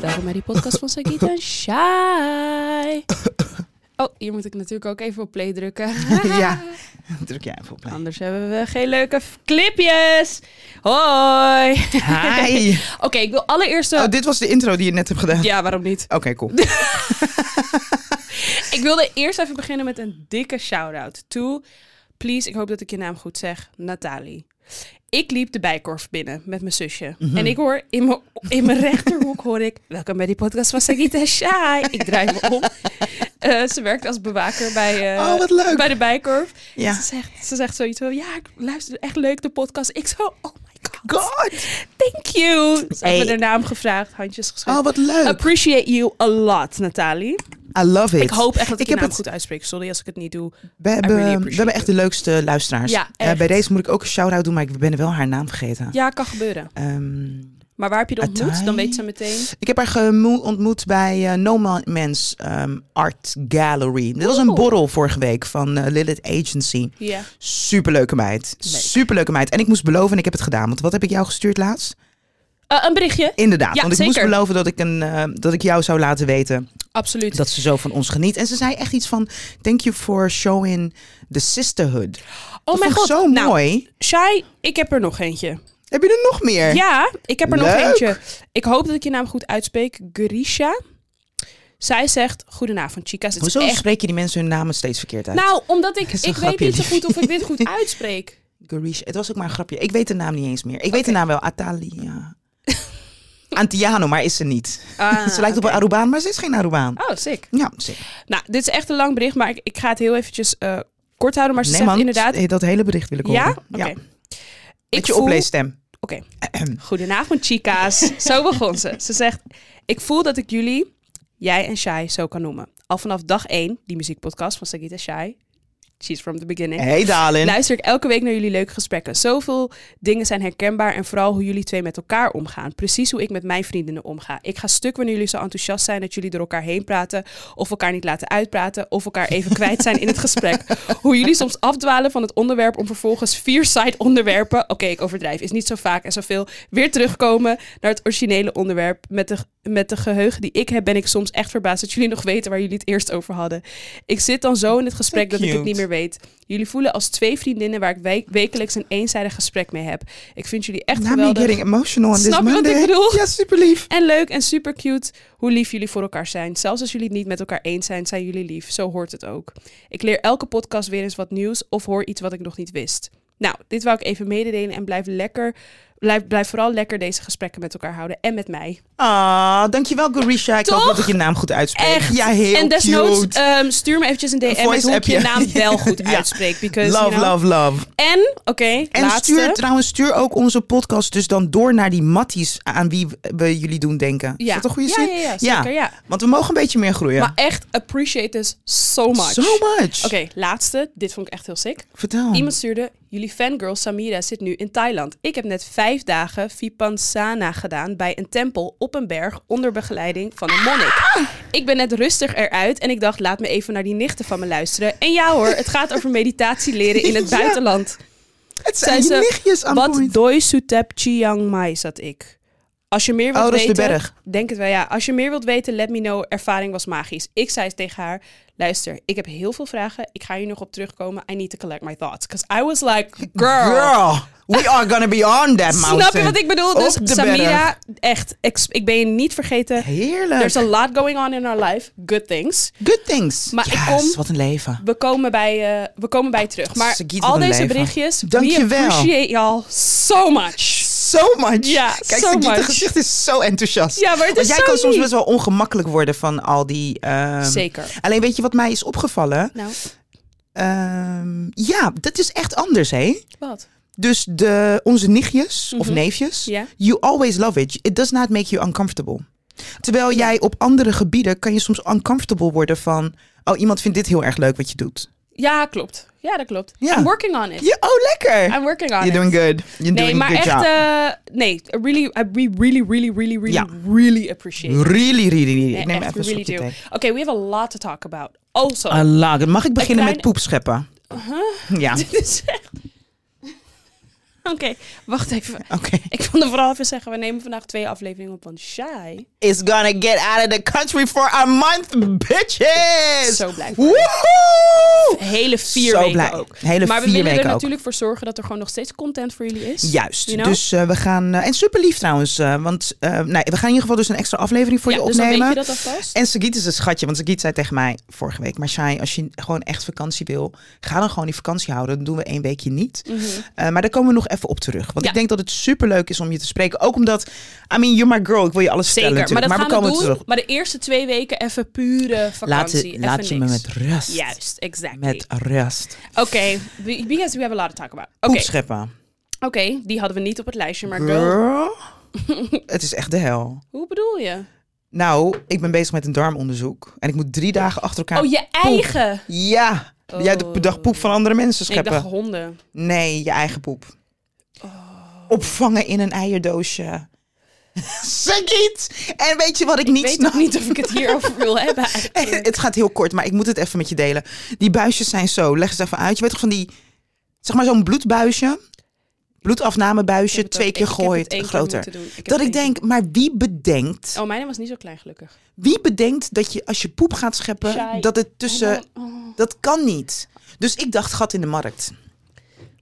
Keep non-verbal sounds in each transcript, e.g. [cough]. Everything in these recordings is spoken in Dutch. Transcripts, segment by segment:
Welkom bij die podcast van Sagita en Shai. Oh, hier moet ik natuurlijk ook even op play [laughs] drukken. ja, [laughs] druk jij even op play. Anders hebben we geen leuke f- clipjes. Hoi. [laughs] Hi! Oké, ik wil allereerst... wel- Oh, dit was de intro die je net hebt gedaan. Ja, waarom niet? Oké, [laughs] cool. Ik wilde eerst even beginnen met een dikke shout-out to... Please, ik hoop dat ik je naam goed zeg. Nathalie. Ik liep de bijkorf binnen met mijn zusje. Mhm. En ik hoor in mijn, in mijn rechterhoek hoor ik... Welkom bij die podcast van Sagita en Shai. Ik draai me om. Eh, ze werkt als bewaker bij, eh, Oh, wat leuk. bij de bijkorf. Ja. Ze, zegt, ze zegt zoiets van... Ja, ik luister echt leuk de podcast. Ik zo... Oh my god. God! Thank you. Ze Hey. hebben haar naam gevraagd. Handjes geschreven. Oh, wat leuk. Appreciate you a lot, Nathalie. I love it. Ik hoop echt dat ik, Ik je heb naam het- goed uitspreek. Sorry als ik het niet doe. we, I really hebben, we appreciate hebben echt de leukste luisteraars. Ja, Eh, echt. bij deze moet ik ook een shout-out doen, maar ik ben wel haar naam vergeten. Ja, kan gebeuren. Ehm, Maar waar heb je de ontmoet? Atai. Dan weet ze meteen. ik heb haar gemo- ontmoet bij eh, No Man's ehm, Art Gallery. Dit was een Oeh. borrel vorige week van eh, Lilith Agency. Ja. Superleuke meid. Leuk. Superleuke meid. En ik moest beloven en ik heb het gedaan. Want wat heb ik jou gestuurd laatst? Eh, een berichtje? Inderdaad, Ja, want ik moest zeker. beloven dat ik, een, eh, dat ik jou zou laten weten Absoluut. dat ze zo van ons geniet. En ze zei echt iets van, thank you for showing the sisterhood. oh mijn dat vond ik god. zo nou, mooi. Shai, ik heb er nog eentje. Heb je er nog meer? Ja, ik heb er nog Eh, Leuk. eentje. Ik hoop dat ik je naam goed uitspreek. Grisha. Zij zegt, goedenavond chicas. Het is Hoezo echt... spreken die mensen hun namen steeds verkeerd uit? Nou, omdat [laughs] ik... is een Ik weet grapje, niet zo lief. goed of ik dit [laughs] goed uitspreek. Garish, het was ook maar een grapje. Ik weet de naam niet eens meer. Ik weet Oké. de naam wel, [laughs] Atalia. Antiano, maar is ze niet. Ah, ze lijkt op oké. een Arubaan, maar ze is geen Arubaan. Oh, sick. Ja, zeker. Nou, dit is echt een lang bericht, maar ik, ik ga het heel eventjes eh, kort houden. Maar ze nee zegt man, inderdaad... eh, dat hele bericht wil ik Ja? horen. Oké. Ja, met Ik je voel- opleesstem. Oké. Goedenavond, chica's. Zo begon ze. Ze zegt: Ik voel dat ik jullie, jij en Shai, zo kan noemen. Al vanaf dag 1, die muziekpodcast van Sagita Shai. She's from the beginning. Hey Dalin. Luister ik elke week naar jullie leuke gesprekken. Zoveel dingen zijn herkenbaar en vooral hoe jullie twee met elkaar omgaan. Precies hoe ik met mijn vriendinnen omga. Ik ga stuk wanneer jullie zo enthousiast zijn dat jullie door elkaar heen praten. Of elkaar niet laten uitpraten. Of elkaar even kwijt zijn in het gesprek. Hoe jullie soms afdwalen van het onderwerp om vervolgens vier side onderwerpen. Oké, ik overdrijf. Is niet zo vaak en zoveel. Weer terugkomen naar het originele onderwerp. Met de, met de geheugen die ik heb ben ik soms echt verbaasd dat jullie nog weten waar jullie het eerst over hadden. Ik zit dan zo in het gesprek dat ik het cute. niet meer weet. Jullie voelen als twee vriendinnen waar ik we- wekelijks een eenzijdig gesprek mee heb. Ik vind jullie echt Now me geweldig. getting emotional on this Snap je wat ik Monday. bedoel? Ja, super lief. En leuk en super cute hoe lief jullie voor elkaar zijn. Zelfs als jullie het niet met elkaar eens zijn, zijn jullie lief. Zo hoort het ook. Ik leer elke podcast weer eens wat nieuws of hoor iets wat ik nog niet wist. Nou, dit wou ik even mededelen en blijf lekker. Blijf, blijf vooral lekker deze gesprekken met elkaar houden en met mij. Ah, dankjewel Garisha. Ik Toch? hoop dat ik je naam goed uitspreek. Echt. Ja, heel en desnoods cute. ehm, stuur me eventjes een DM met hoe ik voice-appje. je naam wel goed [laughs] Ja. uitspreek. Because, love, you know- love, love. En, oké, En laatste. stuur trouwens, stuur ook onze podcast dus dan door naar die matties aan wie we jullie doen denken. Is dat een goede ja, zin? Ja, ja, zeker, ja. Want we mogen een beetje meer groeien. Maar echt, appreciate this so much. So much. Ah. Oké, laatste. Dit vond ik echt heel sick. Vertel. Iemand stuurde, jullie fangirl Samira zit nu in Thailand. Ik heb net vijf dagen Vipassana gedaan bij een tempel op een berg onder begeleiding van een monnik. Ah. Ik ben net rustig eruit en ik dacht, laat me even naar die nichten van me luisteren. En ja hoor, het gaat over meditatie leren in het [laughs] Ja. buitenland. Het zijn zei je ze, nichtjes aan Wat point. Doi Sutep Chiang Mai zat ik. Als je meer wilt Oh, dat is de weten, berg. denk het wel ja. Als je meer wilt weten, let me know. Ervaring was magisch. Ik zei tegen haar: luister, ik heb heel veel vragen. Ik ga hier nog op terugkomen. I need to collect my thoughts, because I was like, girl. Girl, [laughs] we are gonna be on that mountain. Snap je wat ik bedoel? Dus Op de berg. Samira, echt, ex- ik ben je niet vergeten. Heerlijk. There's a lot going on in our life. Good things. Good things. Maar ik Yes, kom- wat een leven. We komen bij, eh, we komen bij je terug. Maar Sagiet, wat al een deze leven. berichtjes, we Dankjewel. appreciate y'all so much. So much. Ja, Kijk, so Sagiet, haar much. gezicht is zo enthousiast. Ja, maar het Want is jij zo kan soms lief. best wel ongemakkelijk worden van al die... ehm, Zeker. Alleen weet je wat mij is opgevallen? Nou, Ehm, ja, dat is echt anders, hè? wat? Dus de, onze nichtjes of neefjes, Mhm. Ja. you always love it. It does not make you uncomfortable. Terwijl jij op andere gebieden kan je soms uncomfortable worden van... Oh, iemand vindt dit heel erg leuk wat je doet. Ja, klopt. Ja, dat klopt. Ja. I'm working on it. Ja, oh, lekker. I'm working on You're it. doing good. nee, You're doing maar good echt, job. eh, nee, I really, I we really, really, really, really, Ja. really appreciate it. Really, really, really. Nee, ik neem echt, even een really slokje do. Oh. thee. Oké, we have a lot to talk about. Also, Ah, lager. Mag ik beginnen klein- [laughs] met poep scheppen? Ja. dit is echt... Oké, wacht even. Oké. Ik wilde vooral even zeggen, we nemen vandaag twee afleveringen op, want shy. Is gonna get out of the country for a month, bitches! Zo blij. Woehoe! Hele vier Zo weken blij. ook. Hele maar we vier willen er weken ook. natuurlijk voor zorgen dat er gewoon nog steeds content voor jullie is. Juist. You know? Dus eh, we gaan. eh, en super lief trouwens. eh, want eh, nee, we gaan in ieder geval dus een extra aflevering voor Ja, je dus dan opnemen. weet je dat alvast. En Sagiet is een schatje, want Sagiet zei tegen mij vorige week... maar Shai, als je gewoon echt vakantie wil, ga dan gewoon die vakantie houden. Dan doen we één weekje niet. Eh, maar daar komen we nog even op terug. Want Mhm. Ja. ik denk dat het superleuk is om je te spreken. Ook omdat, I mean, you're my girl. Ik wil je alles Zeker, vertellen maar dat natuurlijk. gaan we komen we doen. terug. Maar de eerste twee weken even pure Laat, vakantie. even laat je me niks. met rust. Juist, exactly. Met rust. Oké, we- because we have a lot to talk about. Oké, Poep scheppen. oké, die hadden we niet op het lijstje, maar girl, [laughs] Girl. het is echt de hel. hoe bedoel je? Nou, ik ben bezig met een darmonderzoek. En ik moet drie dagen achter elkaar... Oh, je eigen. Ja. Jij de Oh. dag poep van andere mensen Nee, ik scheppen. dacht honden. Nee, je eigen poep. Oh. Opvangen in een eierdoosje. [laughs] Sagiet! En weet je wat ik, Ik niet weet snap? nog niet of ik het [laughs] hierover wil hebben eigenlijk. Het gaat heel kort, maar ik moet het even met je delen. Die buisjes zijn zo. Leg eens even uit. Je weet toch van die, zeg maar zo'n bloedbuisje? Ik heb Bloedafnamebuisje, het twee ook- keer ik heb het gooit, één keer groter. moeten doen. Ik heb dat ik één keer- denk, maar wie bedenkt, Oh, mijn was niet zo klein, gelukkig. wie bedenkt dat je als je poep gaat scheppen, Shy. dat het tussen, Oh, oh. dat kan niet. Dus ik dacht, gat in de markt.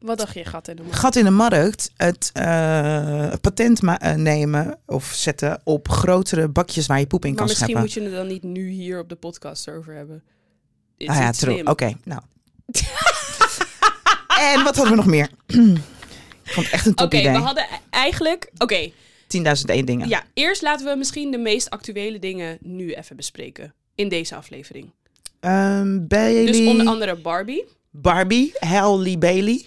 Wat dacht je, gat in de markt? gat in de markt het eh, patent ma- eh, nemen of zetten op grotere bakjes waar je poep in Maar kan misschien scheppen. moet je het dan niet nu hier op de podcast over hebben. Is ah ja, niet true. slim. Oké, nou. [laughs] en wat hadden we nog meer? [clears throat] Ik vond het echt een top Oké, we idee. hadden e- eigenlijk... Oké, 10.001 dingen. ja, eerst laten we misschien de meest actuele dingen nu even bespreken. In deze aflevering. Ehm, Bailey, Dus onder andere Barbie. Barbie, Halle Bailey.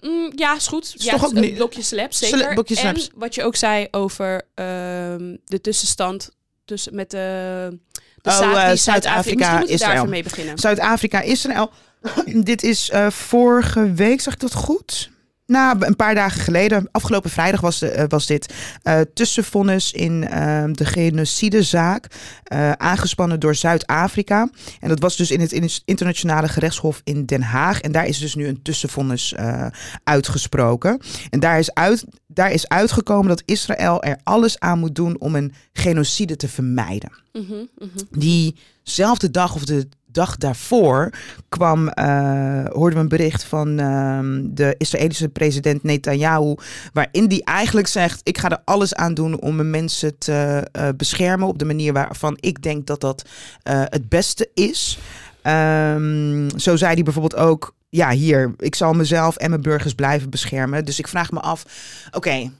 Mm, ja, is goed. ja, toch ook een nu- blokje slaps, Sla- zeker. blokje en slaps. wat je ook zei over ehm, de tussenstand tussen met eh, de, de Oh, zaak die eh, Zuid-Afrika, Zuid-Afrika. Misschien moeten we daar Israël. even mee beginnen. Zuid-Afrika, Israël. [clears throat] Dit is eh, vorige week, zeg ik dat goed? Nou, een paar dagen geleden, afgelopen vrijdag was, de, eh, was dit eh, tussenvonnis in eh, de genocidezaak, eh, aangespannen door Zuid-Afrika. En dat was dus in het in- internationale gerechtshof in Den Haag. En daar is dus nu een tussenvonnis eh, uitgesproken. En daar is, uit, daar is uitgekomen dat Israël er alles aan moet doen om een genocide te vermijden Mhm, mhm. diezelfde dag of de dag daarvoor kwam, eh, hoorden we een bericht van ehm, de Israëlische president Netanyahu, waarin die eigenlijk zegt: ik ga er alles aan doen om mijn mensen te eh, beschermen op de manier waarvan ik denk dat dat eh, het beste is. Ehm, zo zei hij bijvoorbeeld ook. Ja, hier, ik zal mezelf en mijn burgers blijven beschermen. Dus ik vraag me af, oké,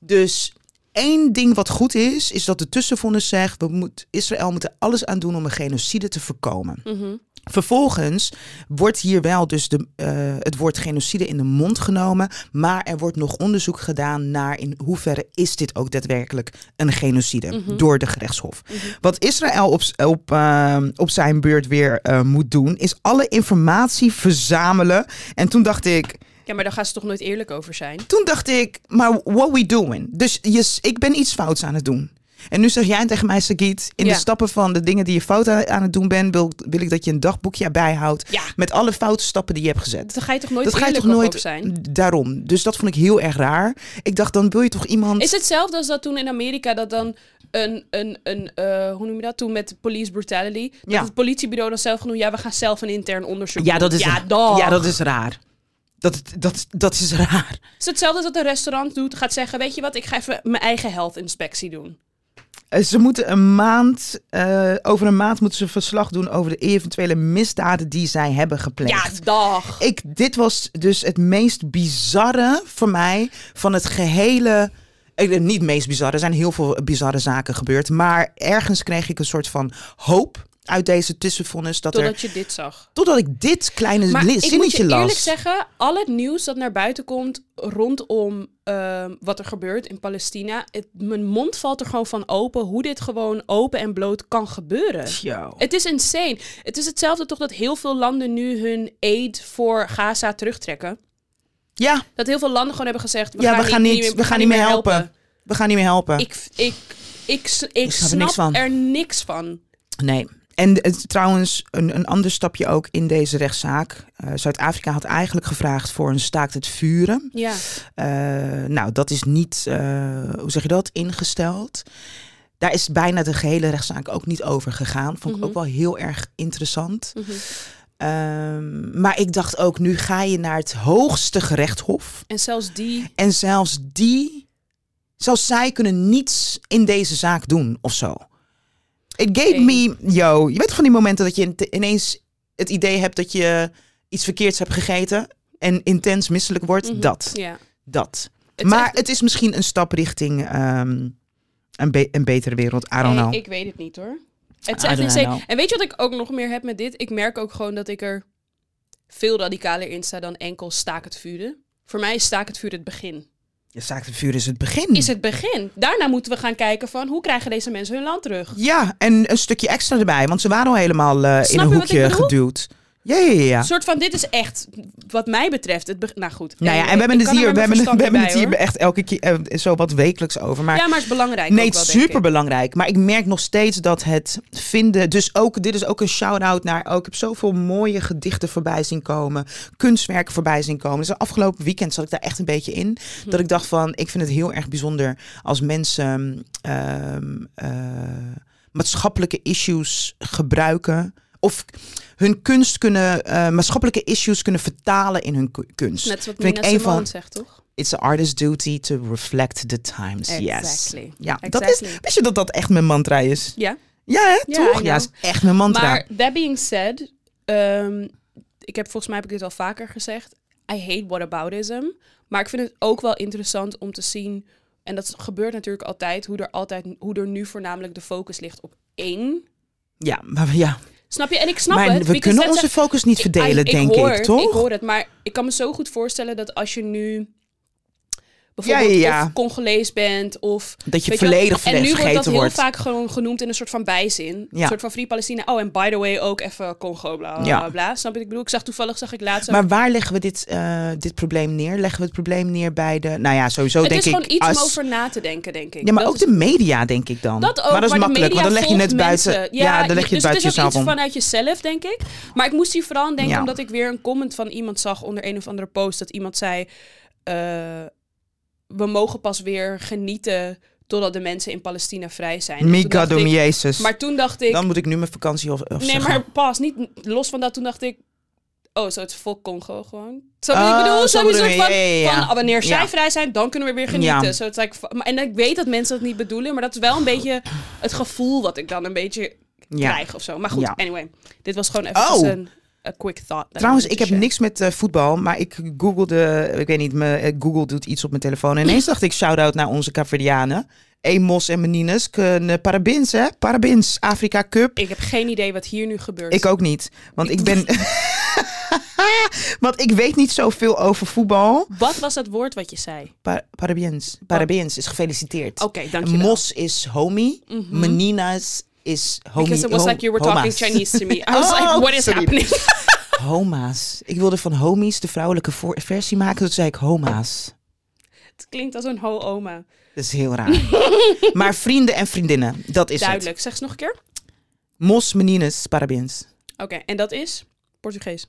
dus Eén ding wat goed is, is dat de tussenvonnis zegt... We moet, Israël moet er alles aan doen om een genocide te voorkomen. Mhm. Vervolgens wordt hier wel dus de, eh, het woord genocide in de mond genomen... maar er wordt nog onderzoek gedaan naar in hoeverre is dit ook daadwerkelijk een genocide... Mhm. door de gerechtshof. Mhm. Wat Israël op, s- op, ehm, op zijn beurt weer eh, moet doen, is alle informatie verzamelen. En toen dacht ik... Ja, maar daar gaan ze toch nooit eerlijk over zijn? Toen dacht ik, maar what we doing? Dus yes, ik ben iets fouts aan het doen. En nu zeg jij tegen mij, Sagiet, in Ja. de stappen van de dingen die je fout aan aan het doen bent, wil, wil ik dat je een dagboekje bijhoudt Ja. met alle foute stappen die je hebt gezet. Daar ga je toch nooit Dat ga je eerlijk toch nooit over zijn? daarom. Dus dat vond ik heel erg raar. Ik dacht, dan wil je toch iemand. Is hetzelfde als dat toen in Amerika dat dan een, een, een eh, hoe noem je dat, toen met police brutality, dat Ja. het politiebureau dan zelf genoeg, ja, we gaan zelf een intern onderzoek Ja, dat is, doen. Ja, dag. ja, dat is raar. Dat, dat, dat is raar. Is hetzelfde als dat een restaurant doet, gaat zeggen, weet je wat, ik ga even mijn eigen health inspectie doen. Eh, Ze moeten een maand, eh, over een maand moeten ze verslag doen over de eventuele misdaden die zij hebben gepleegd. Ja, dag. ik, dit was dus het meest bizarre voor mij van het gehele. Ik, eh, niet het meest bizarre, er zijn heel veel bizarre zaken gebeurd. Maar ergens kreeg ik een soort van hoop uit deze tussenvonnis. Dat er, Totdat je dit zag. totdat ik dit kleine Maar li- ik moet je zinnetje eerlijk las. zeggen, al het nieuws dat naar buiten komt rondom ehm, wat er gebeurt in Palestina, het, mijn mond valt er gewoon van open hoe dit gewoon open en bloot kan gebeuren. Yo. Het is insane. Het is hetzelfde toch dat heel veel landen nu hun aid voor Gaza terugtrekken. Ja, Dat heel veel landen gewoon hebben gezegd: we, ja gaan, we, gaan niet, we gaan niet meer helpen. We gaan niet meer helpen. Ik, ik, ik, s- ik snap er snap niks van. er niks van. nee. En het, trouwens, een, een ander stapje ook in deze rechtszaak. Eh, Zuid-Afrika had eigenlijk gevraagd voor een staakt het vuren. Ja. Eh, nou, dat is niet, eh, hoe zeg je dat, ingesteld. Daar is bijna de gehele rechtszaak ook niet over gegaan. Vond ik Mhm. ook wel heel erg interessant. Mhm. Ehm, maar ik dacht ook, nu ga je naar het hoogste gerechtshof. En zelfs die. En zelfs die, zelfs zij kunnen niets in deze zaak doen of zo. It gave Oké. me, yo, je weet van die momenten dat je ineens het idee hebt dat je iets verkeerds hebt gegeten en intens misselijk wordt. Mhm. Dat, Ja. dat. Het is maar echt- het is misschien een stap richting ehm, een, be- een betere wereld. I don't Hey, know. ik weet het niet hoor. Het is I echt don't insane. know. En weet je wat ik ook nog meer heb met dit? Ik merk ook gewoon dat ik er veel radicaler in sta dan enkel staak het vuren. Voor mij is staak het vuur het begin. Je zaakt het vuur is het begin. Is het begin. Daarna moeten we gaan kijken van hoe krijgen deze mensen hun land terug. Ja, en een stukje extra erbij, want ze waren al helemaal eh, in Snap een je wat ik hoekje bedoel? geduwd. Ja, ja, ja, ja. Een soort van dit is echt wat mij betreft het be- nou goed. Nou ja, en we hebben het hier, we hebben, het- we hebben het hier echt elke keer eh, zo wat wekelijks over. Maar Ja, maar het is belangrijk nee, ook het wel, is denk ik. superbelangrijk. Maar ik merk nog steeds dat het vinden. Dus ook, dit is ook een shout-out naar. Ook, ik heb zoveel mooie gedichten voorbij zien komen. Kunstwerken voorbij zien komen. Dus de afgelopen weekend zat ik daar echt een beetje in. Hm. Dat ik dacht van, ik vind het heel erg bijzonder als mensen ehm, eh, maatschappelijke issues gebruiken. Of hun kunst kunnen, eh, maatschappelijke issues kunnen vertalen in hun ku- kunst. Net wat Vind ik Nina één Simone van- zegt, toch? It's an artist's duty to reflect the times. Yes. Exactly. Ja, dat is, Exactly. wist je dat dat echt mijn mantra is? Ja. Ja, hè, Ja, I toch? know. Ja, is echt mijn mantra. Maar that being said, ehm, ik heb volgens mij heb ik dit al vaker gezegd. I hate whataboutism. Maar ik vind het ook wel interessant om te zien. En dat gebeurt natuurlijk altijd, hoe er altijd, hoe er nu voornamelijk de focus ligt op één. ja, maar, ja. Snap je? En ik snap maar het. we because kunnen that's onze focus niet Ik- verdelen, ik- denk ik, hoor, ik, het, toch? Ik hoor het, maar ik kan me zo goed voorstellen dat als je nu bijvoorbeeld Ja, ja, ja. of Congolees bent of... dat je weet je volledig wel, En nu wordt dat vergeten heel wordt. vaak gewoon genoemd in een soort van bijzin. Ja. Een soort van Free Palestina. Oh, en by the way ook even Congo, bla bla Ja. bla, bla. Snap je wat ik bedoel? Ik zag toevallig, zag ik laatst... ook- Maar waar leggen we dit, eh, dit probleem neer? Leggen we het probleem neer bij de... Nou ja, sowieso het denk is gewoon ik... iets als, om over na te denken, denk ik. ja, maar Dat ook is- de media, denk ik dan. Dat ook, maar dat is de makkelijk, media want dan leg je volgt het buiten... mensen. Ja, dan leg je het dus buiten is ook jezelf om. iets vanuit jezelf, denk ik. Maar ik moest hier vooral aan denken, Ja. omdat ik weer een comment van iemand zag onder een of andere post. Dat iemand zei, eh, we mogen pas weer genieten totdat de mensen in Palestina vrij zijn. En toen dacht Mikadom ik- Jezus. Maar toen dacht ik, Dan moet ik nu mijn vakantie of, nee, maar pas, niet los van dat. Toen dacht ik, oh, zo het volk Congo gewoon. Zo wat ik Oh, bedoel, zo zo een bedoel soort je, van, ja, ja, ja. van oh, wanneer zij Ja. vrij zijn, dan kunnen we weer Ja. genieten. Zo, het is like, maar- en ik weet dat mensen dat niet bedoelen, maar dat is wel een beetje het gevoel wat ik dan een beetje Ja. krijg of zo. Maar goed, Ja. anyway. Dit was gewoon even Oh. een a quick thought. that I Trouwens, wanted ik to heb share. niks met eh, voetbal, maar ik googelde, ik weet niet, me, eh, Google doet iets op mijn telefoon. En ineens dacht ik, shout-out naar onze Caverdianen. Emos en Menines, kunnen- parabens hè, parabens, Afrika Cup. Ik heb geen idee wat hier nu gebeurt. Ik ook niet, want ik ben... [laughs] want ik weet niet zoveel over voetbal. Wat was dat woord wat je zei? Pa- parabens, parabens is gefeliciteerd. Oké, Oh, dankjewel. Mhm. Mos is homie, Meninas is homie. Because it was hom- like you were homa's. talking Chinese to me. I was [laughs] Oh, like, what is sorry. happening? [laughs] Homa's. Ik wilde van homies de vrouwelijke voor- versie maken, dus zei ik homa's. het klinkt als een ho-oma. Dat is heel [laughs] raar. maar vrienden en vriendinnen, dat is Duidelijk. Zeg eens nog een keer. het. Mos, menines, parabens. Oké, en dat is Portugees.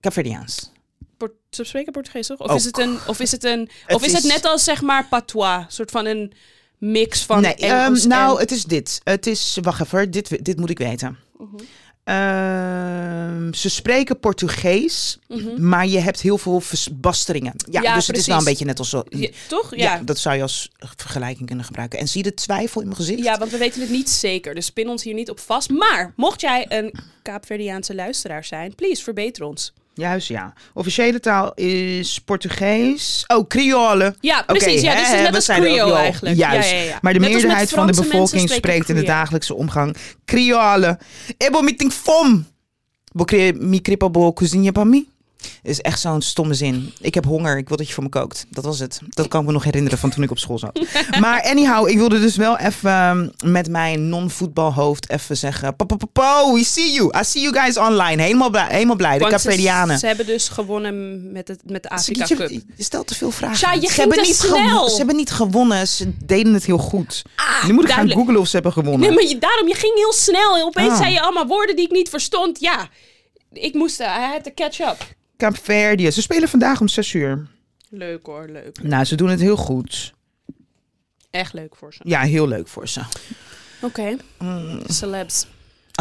Caverdiaans. Port ze spreken Portugees toch? Of Ook. is het een, of is het een, Oh. [laughs] Het of is, het is- net als zeg maar patois, een soort van een mix van nee, Engels ehm, nou, en- het is dit. Het is, wacht even, dit, dit moet ik weten. Mhm. Ehm, ze spreken Portugees, Mhm. maar je hebt heel veel verbasteringen. Ja, Ja, dus het is wel een precies. beetje net als... zo- Ja, Ja, toch? Ja. ja. dat zou je als vergelijking kunnen gebruiken. En zie je de twijfel in mijn gezicht? want we weten het niet zeker, dus pin ons hier niet op vast. Maar mocht jij een Kaapverdiaanse luisteraar zijn, please verbeter ons. Juist, ja. Officiële taal is Portugees. Oh, Creole. Ja, Oké, precies. ja, dus het hè, is net we als zijn er ook Creole wel. eigenlijk. Juist. Ja, ja, ja. Maar de Net als met meerderheid van de Franse mensen bevolking spreken spreekt in de Creole. dagelijkse omgang Creole. Ebo meeting fom. Bo cre- mi kripa bo cozinha pa mi. Is echt zo'n stomme zin. Ik heb honger, ik wil dat je voor me kookt. Dat was het. Dat kan ik me nog herinneren van toen ik op school [laughs] zat. maar anyhow, ik wilde dus wel even ehm, met mijn non-voetbalhoofd even zeggen... "Pa, pa, pa, pa, we see you. I see you guys online. Helemaal blij, helemaal blij. De Want ze- Capverdianen. Ze hebben dus gewonnen met, het, met de Afrika je, Cup. je stelt te veel vragen. Ja, je ging ze hebben te niet gewo- snel. Ze hebben niet gewonnen. Ze deden het heel goed. Ah, nu moet ik duidelijk. gaan googlen of ze hebben gewonnen. Nee, maar je, daarom, je ging heel snel. En opeens Ah. zei je allemaal woorden die ik niet verstond. Ja, ik moest, eh, I had to catch up. Kaapverdië. Ze spelen vandaag om 6 uur. Leuk hoor, leuk. Nou, ze doen het heel goed. Echt leuk voor ze. Ja, Mm. heel leuk voor ze. Oké, celebs.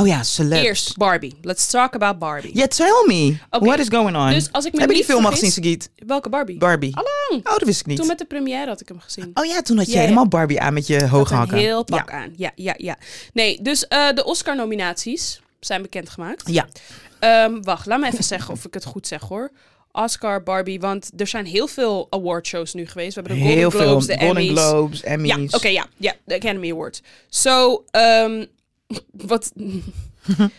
Oh ja, celebs. Eerst Barbie. Let's talk about Barbie. Yeah, tell me. Oké. What is going on? Dus als ik me Heb je die niet film al gezien, vergis- Sagiet? Welke Barbie? Barbie. Allang. Oh, dat wist ik niet. Toen met de première had ik hem gezien. Oh ja, toen had je Ja, ja. helemaal Barbie aan met je hoge Had een hakken. heel ja. pak aan. Ja, ja, ja. Nee, dus eh, de Oscar-nominaties zijn bekendgemaakt. ja. Ehm, wacht, laat me even zeggen of ik het goed zeg hoor. Oscar, Barbie, want er zijn heel veel awardshows nu geweest. We hebben de Heel Golden veel. Globes, de Golden Emmys. Globes, Emmys. Ja, oké, ja, ja, de Academy Awards. Zo, ehm, [laughs] wat... [laughs]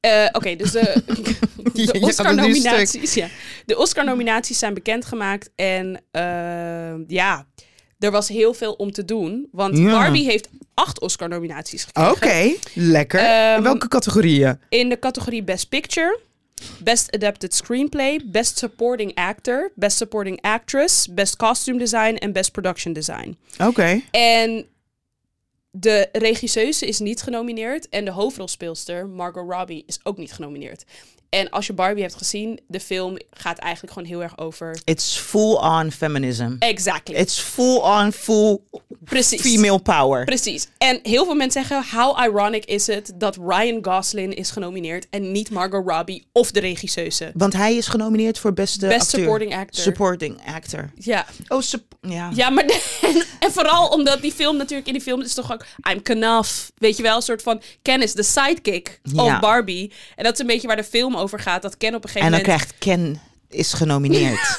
Eh, oké, dus [laughs] de, Je gaat de het nu Oscar-nominaties ja. De Oscar-nominaties zijn bekendgemaakt en ehm, ja, er was heel veel om te doen. Want Ja. Barbie heeft acht Oscar-nominaties Oké, gekregen. lekker. Ehm, In Welke categorieën? In de categorie Best Picture, Best Adapted Screenplay, Best Supporting Actor, Best Supporting Actress, Best Costume Design en Best Production Design. Oké. En de regisseuse is niet genomineerd en de hoofdrolspeelster Margot Robbie is ook niet genomineerd. En als je Barbie hebt gezien, de film gaat eigenlijk gewoon heel erg over. It's full on feminism. Exactly. It's full on full Precies. female power. Precies. En heel veel mensen zeggen, how ironic is het dat Ryan Gosling is genomineerd en niet Margot Robbie of de regisseuse. Want hij is genomineerd voor beste Best acteur. supporting actor. Supporting actor. Ja. Oh, sup- ja. Ja, maar [laughs] en, en vooral omdat die film natuurlijk in die film is toch ook I'm Knaf, weet je wel, een soort van Ken is de sidekick Ja. of Barbie. En dat is een beetje waar de film over gaat, dat Ken op een En gegeven dan moment krijgt Ken is [laughs] genomineerd. [laughs]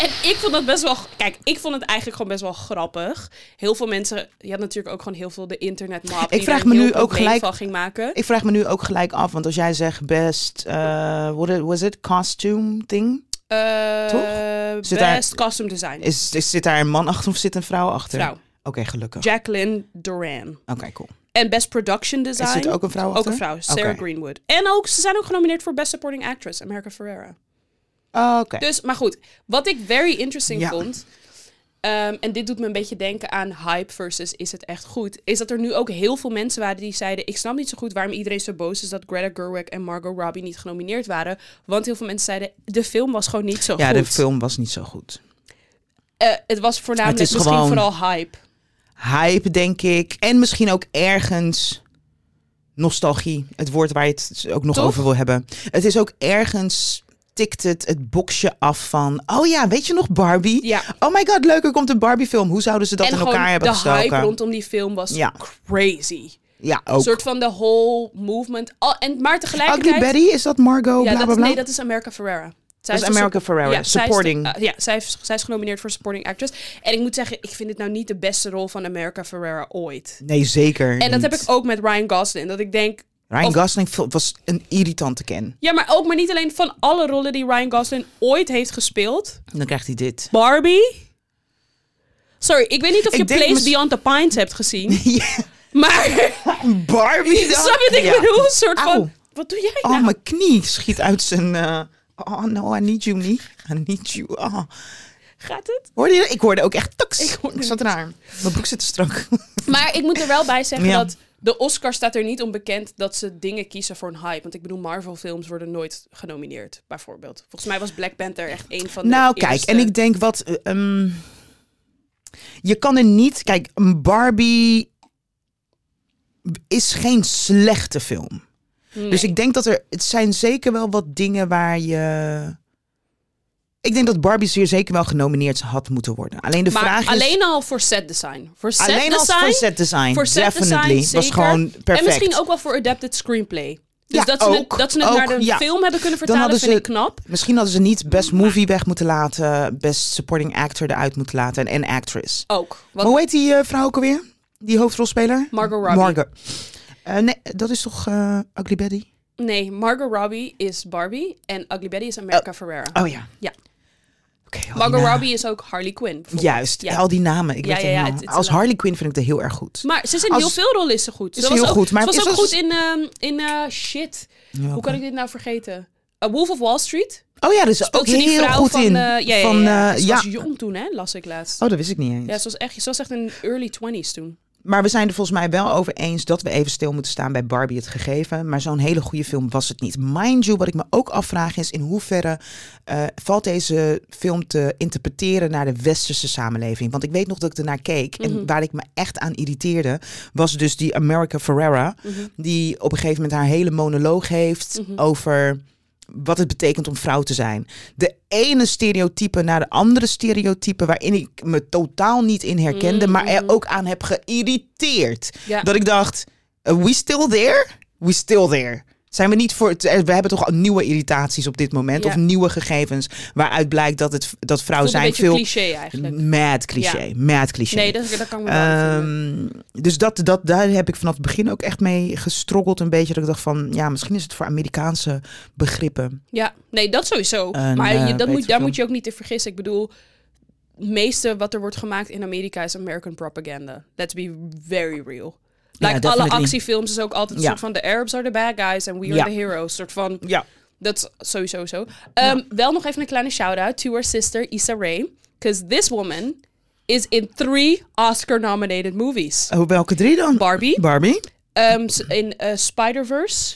en ik vond dat best wel kijk, ik vond het eigenlijk gewoon best wel grappig. Heel veel mensen, je had natuurlijk ook gewoon heel veel de internetmap die vraag daar me heel nu veel ook meme gelijk- van ging maken. Ik vraag me nu ook gelijk af, want als jij zegt best, eh what it- was het costume thing? Eh, Zit daar- best costume design. Is, is, zit daar een man achter of zit een vrouw achter? Vrouw. Oké, gelukkig. Jacqueline Duran. Oké, cool. En best production design. Is er ook een vrouw Ook achter? een vrouw, Sarah Oké. Greenwood. En ook, ze zijn ook genomineerd voor Best Supporting Actress, America Ferrera. Oh, Oké. Dus, maar goed, wat ik very interesting Ja. vond. ehm, en dit doet me een beetje denken aan hype versus is het echt goed. Is dat er nu ook heel veel mensen waren die zeiden: Ik snap niet zo goed waarom iedereen zo boos is dat Greta Gerwig en Margot Robbie niet genomineerd waren. Want heel veel mensen zeiden: De film was gewoon niet zo Ja, goed. de film was niet zo goed. Eh, het was voornamelijk Het is misschien gewoon- vooral hype. Hype, denk ik. En misschien ook ergens nostalgie. Het woord waar je het ook nog Toch? over wil hebben. Het is ook ergens tikt het het boxje af van... Oh ja, weet je nog Barbie? Ja. Oh my god, leuk, er komt een Barbie film. Hoe zouden ze dat en in gewoon elkaar hebben de gestoken? hype rondom die film was Ja. crazy. Ja, Een ook. soort van de whole movement. Al, en, maar tegelijkertijd. Ugly Betty, is dat Margot? Ja, bla, dat bla, is, bla? nee, dat is America Ferrera. Zij Dat is de sup- America Ferrera, zij is de- supporting. eh, ja, zij is, zij is genomineerd voor Supporting Actress. En ik moet zeggen, ik vind dit nou niet de beste rol van America Ferrera ooit. Nee, zeker En dat heb niet. ik ook met Ryan Gosling. Dat ik denk, Ryan of- Gosling vo- was een irritante ken. ja, maar ook maar niet alleen van alle rollen die Ryan Gosling ooit heeft gespeeld. Dan krijgt hij dit. Barbie. Sorry, ik weet niet of Ik je denk Place mis- Beyond the Pines hebt [laughs] gezien. Ja, Maar, Barbie dan? [laughs] snap je wat ik Ja. bedoel? Een soort Auw. van, wat doe jij nou? Oh, mijn knie schiet uit zijn... eh, Oh no, I need you, niet. I need you. Oh. Gaat het? Hoorde je? dat? Ik hoorde ook echt taks. Ik Ik, hoorde zat raar. Mijn broek zit te strak. Maar ik moet er wel bij zeggen Ja. dat de Oscar staat er niet onbekend dat ze dingen kiezen voor een hype. Want ik bedoel, Marvel-films worden nooit genomineerd, bijvoorbeeld. Volgens mij was Black Panther echt een van de [laughs] Nou, kijk, eerste. en ik denk wat. eh, ehm, je kan er niet. Kijk, een Barbie is geen slechte film. Dus ik denk dat er. Het zijn zeker wel wat dingen waar je. Ik denk dat Barbie zeer zeker wel genomineerd had moeten worden. Alleen de maar vraag is. alleen al voor set design. Voor set alleen als design, voor set design. voor set definitely. design, was zeker. gewoon perfect. En misschien ook wel voor adapted screenplay. Dus Ja, dat, ze ook, het, dat ze het ook, naar de ja. film hebben kunnen Dan vertalen, hadden vind ze- ik knap. Misschien hadden ze niet best movie weg moeten laten, best supporting actor eruit moeten laten en, en actress. Ook. Want Maar hoe heet die eh, vrouw ook alweer? Die hoofdrolspeler? Margot Robbie. Margot. Eh, nee, dat is toch eh Ugly Betty? Nee, Margot Robbie is Barbie en Ugly Betty is America Ferrera. Oh ja. Ja. Oké, al die Margot namen. Robbie is ook Harley Quinn. bijvoorbeeld. Juist, Ja. al die namen. Ik Ja, weet ja, het ja, niet. het- het Als zijn- Harley Quinn vind ik dat heel erg goed. Maar ze is in Als- heel veel rollen is ze goed. Is ze heel was ook, goed, maar ze was is ook als- goed in, ehm, in eh, shit. Ja, Hoe oké. kan ik dit nou vergeten? A Wolf of Wall Street. Oh ja, dus Speelt ook ze die heel vrouw goed van, in. eh, ja, ja, van, ja. eh, Ze ja. was jong toen, hè? Las ik laatst. Oh, dat wist ik niet eens. Ja, ze was echt, ze was echt in early 20s toen. Maar we zijn er volgens mij wel over eens dat we even stil moeten staan bij Barbie het gegeven. Maar zo'n hele goede film was het niet. Mind you, wat ik me ook afvraag is in hoeverre eh, valt deze film te interpreteren naar de westerse samenleving. Want ik weet nog dat ik ernaar keek en waar ik me echt aan irriteerde was dus die America Ferrera. Die op een gegeven moment haar hele monoloog heeft over wat het betekent om vrouw te zijn. De ene stereotype naar de andere stereotype waarin ik me totaal niet in herkende, maar er ook aan heb geïrriteerd. Mm. Ja. Dat ik dacht, eh, we still there? We still there. Zijn we niet voor het, eh, we hebben toch al nieuwe irritaties op dit moment Ja. of nieuwe gegevens waaruit blijkt dat het dat vrouw Voelt een zijn beetje veel cliché eigenlijk. mad cliché, mad cliché. Nee, dat, dat kan ik me wel vinden. Ehm, dus dat, dat, daar heb ik vanaf het begin ook echt mee gestroggeld een beetje. Dat ik dacht van, ja, misschien is het voor Amerikaanse begrippen. Ja, nee, dat sowieso. Een, maar eh, je, dat betere moet, daar film. moet je ook niet in vergissen. Ik bedoel, het meeste wat er wordt gemaakt in Amerika is American propaganda. Let's be very real. Ja, Like alle definitely. actiefilms is ook altijd een Ja. soort van... The Arabs are the bad guys and we Ja. are the heroes. soort van, Ja. dat is sowieso zo. Ehm, Wel nog even een kleine shout-out to her sister Issa Rae. Because this woman is in three Oscar-nominated movies. Oh, welke drie dan? Barbie, Barbie? ehm, s- in eh, Spider-Verse,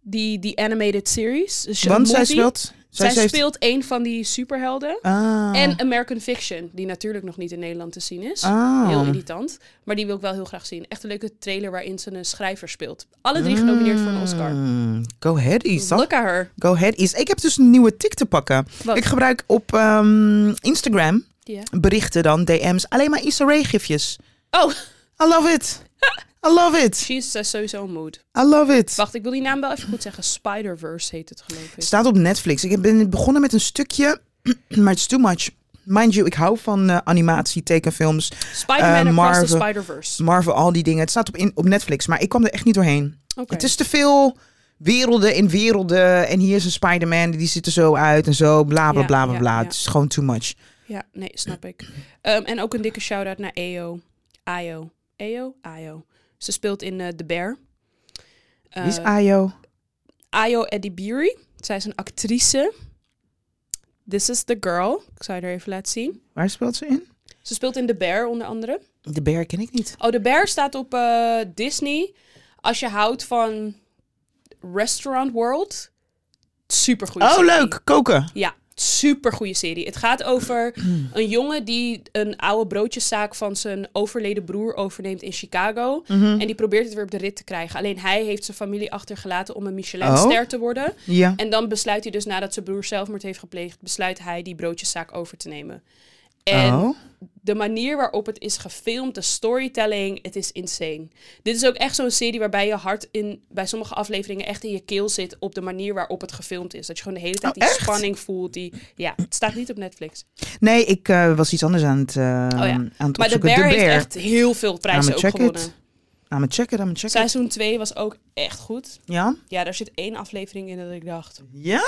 die, die animated series. Dus een Want zij movie. speelt... Zij, ze heeft- speelt een van die superhelden. Ah. En American Fiction, die natuurlijk nog niet in Nederland te zien is. Ah. Heel irritant. Maar die wil ik wel heel graag zien. Echt een leuke trailer waarin ze een schrijver speelt. Alle drie genomineerd voor een Oscar. Mm, Go ahead, Isa. Look at her. Go ahead, Isa. Ik heb dus een nieuwe tik te pakken. Wat? Ik gebruik op ehm, Instagram Ja. berichten dan, DM's, alleen maar Issa Rae gifjes. Oh, [laughs] I love it. I love it. she's eh, sowieso een mood. I love it. Wacht, ik wil die naam wel even goed zeggen. Spider-Verse heet het geloof ik. Het staat op Netflix. Ik ben begonnen met een stukje, [clears throat] maar it's too much. Mind you, ik hou van eh, animatie, tekenfilms, Spider-Man Eh, Across the Marvel. Spider-Verse. Marvel, al die dingen. Het staat op, in, op Netflix, maar ik kwam er echt niet doorheen. Oké. Het is te veel werelden in werelden. En hier is een Spider-Man, die ziet er zo uit en zo. Bla bla Ja, bla bla ja, bla. ja. Het is gewoon too much. Ja, nee, snap ik. Ehm, en ook een dikke shout-out naar EO. Ayo. EO? Ayo. Ze speelt in eh, The Bear. Wie is Eh, Ayo? Ayo Edibiri. Zij is een actrice. This is the girl. Ik zou je er even laten zien. Waar speelt ze in? Ze speelt in The Bear onder andere. De Bear ken ik niet. Oh, The Bear staat op eh, Disney. Als je houdt van Restaurant World. Supergoed. Oh, leuk. Koken. Ja, supergoeie serie. Het gaat [clears throat] over een jongen die een oude broodjeszaak van zijn overleden broer overneemt in Chicago. Mhm. En die probeert het weer op de rit te krijgen. Alleen hij heeft zijn familie achtergelaten om een Michelinster Oh. te worden. Ja. En dan besluit hij dus nadat zijn broer zelfmoord heeft gepleegd, besluit hij die broodjeszaak over te nemen. En oh. de manier waarop het is gefilmd, de storytelling, het is insane. Dit is ook echt zo'n serie waarbij je hart in, bij sommige afleveringen echt in je keel zit op de manier waarop het gefilmd is. Dat je gewoon de hele tijd Oh, die echt? spanning voelt. Die, ja, het staat niet op Netflix. Nee, ik eh, was iets anders aan het, eh Oh ja. aan het Maar de opzoeken. Bear, De heeft echt heel veel prijzen I'ma ook check it. gewonnen. Aan het checken, aan het checken. Seizoen 2 was ook echt goed. Ja? Ja, daar zit één aflevering in dat ik dacht. Ja?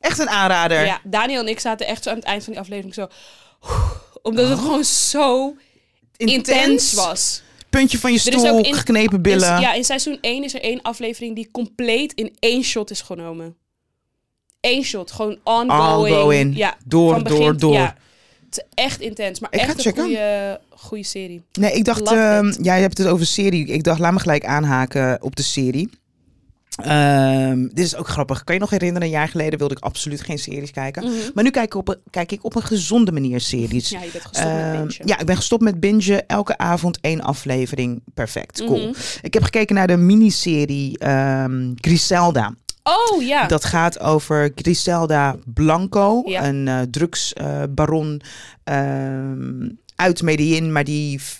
Echt een aanrader. Ja, Daniel en ik zaten echt zo aan het eind van die aflevering zo. Omdat Oh. het gewoon zo intens was. Puntje van je Er is stoel, ook in- geknepen billen. In- ja, in seizoen 1 is er één aflevering die compleet in één shot is genomen. Eén shot, gewoon ongoing. Ongoing. Ja, Door, van begin- door, door. ja. het is echt intens, maar Ik ga echt een checken. goede, goede serie. Nee, ik dacht, Love ehm, it. ja, je hebt het over serie. Ik dacht, laat me gelijk aanhaken op de serie. Ehm, dit is ook grappig. Kan je nog herinneren, een jaar geleden wilde ik absoluut geen series kijken. Maar nu kijk ik op een, kijk ik op een gezonde manier series. Mhm. Ja, je bent gestopt met Ehm, bingen. ja, ik ben gestopt met bingen. Elke avond één aflevering. Perfect, cool. Mhm. Ik heb gekeken naar de miniserie ehm, Griselda. Oh ja, Dat gaat over Griselda Blanco, Ja. een eh, drugsbaron eh, ehm, uit Medellin, maar die v-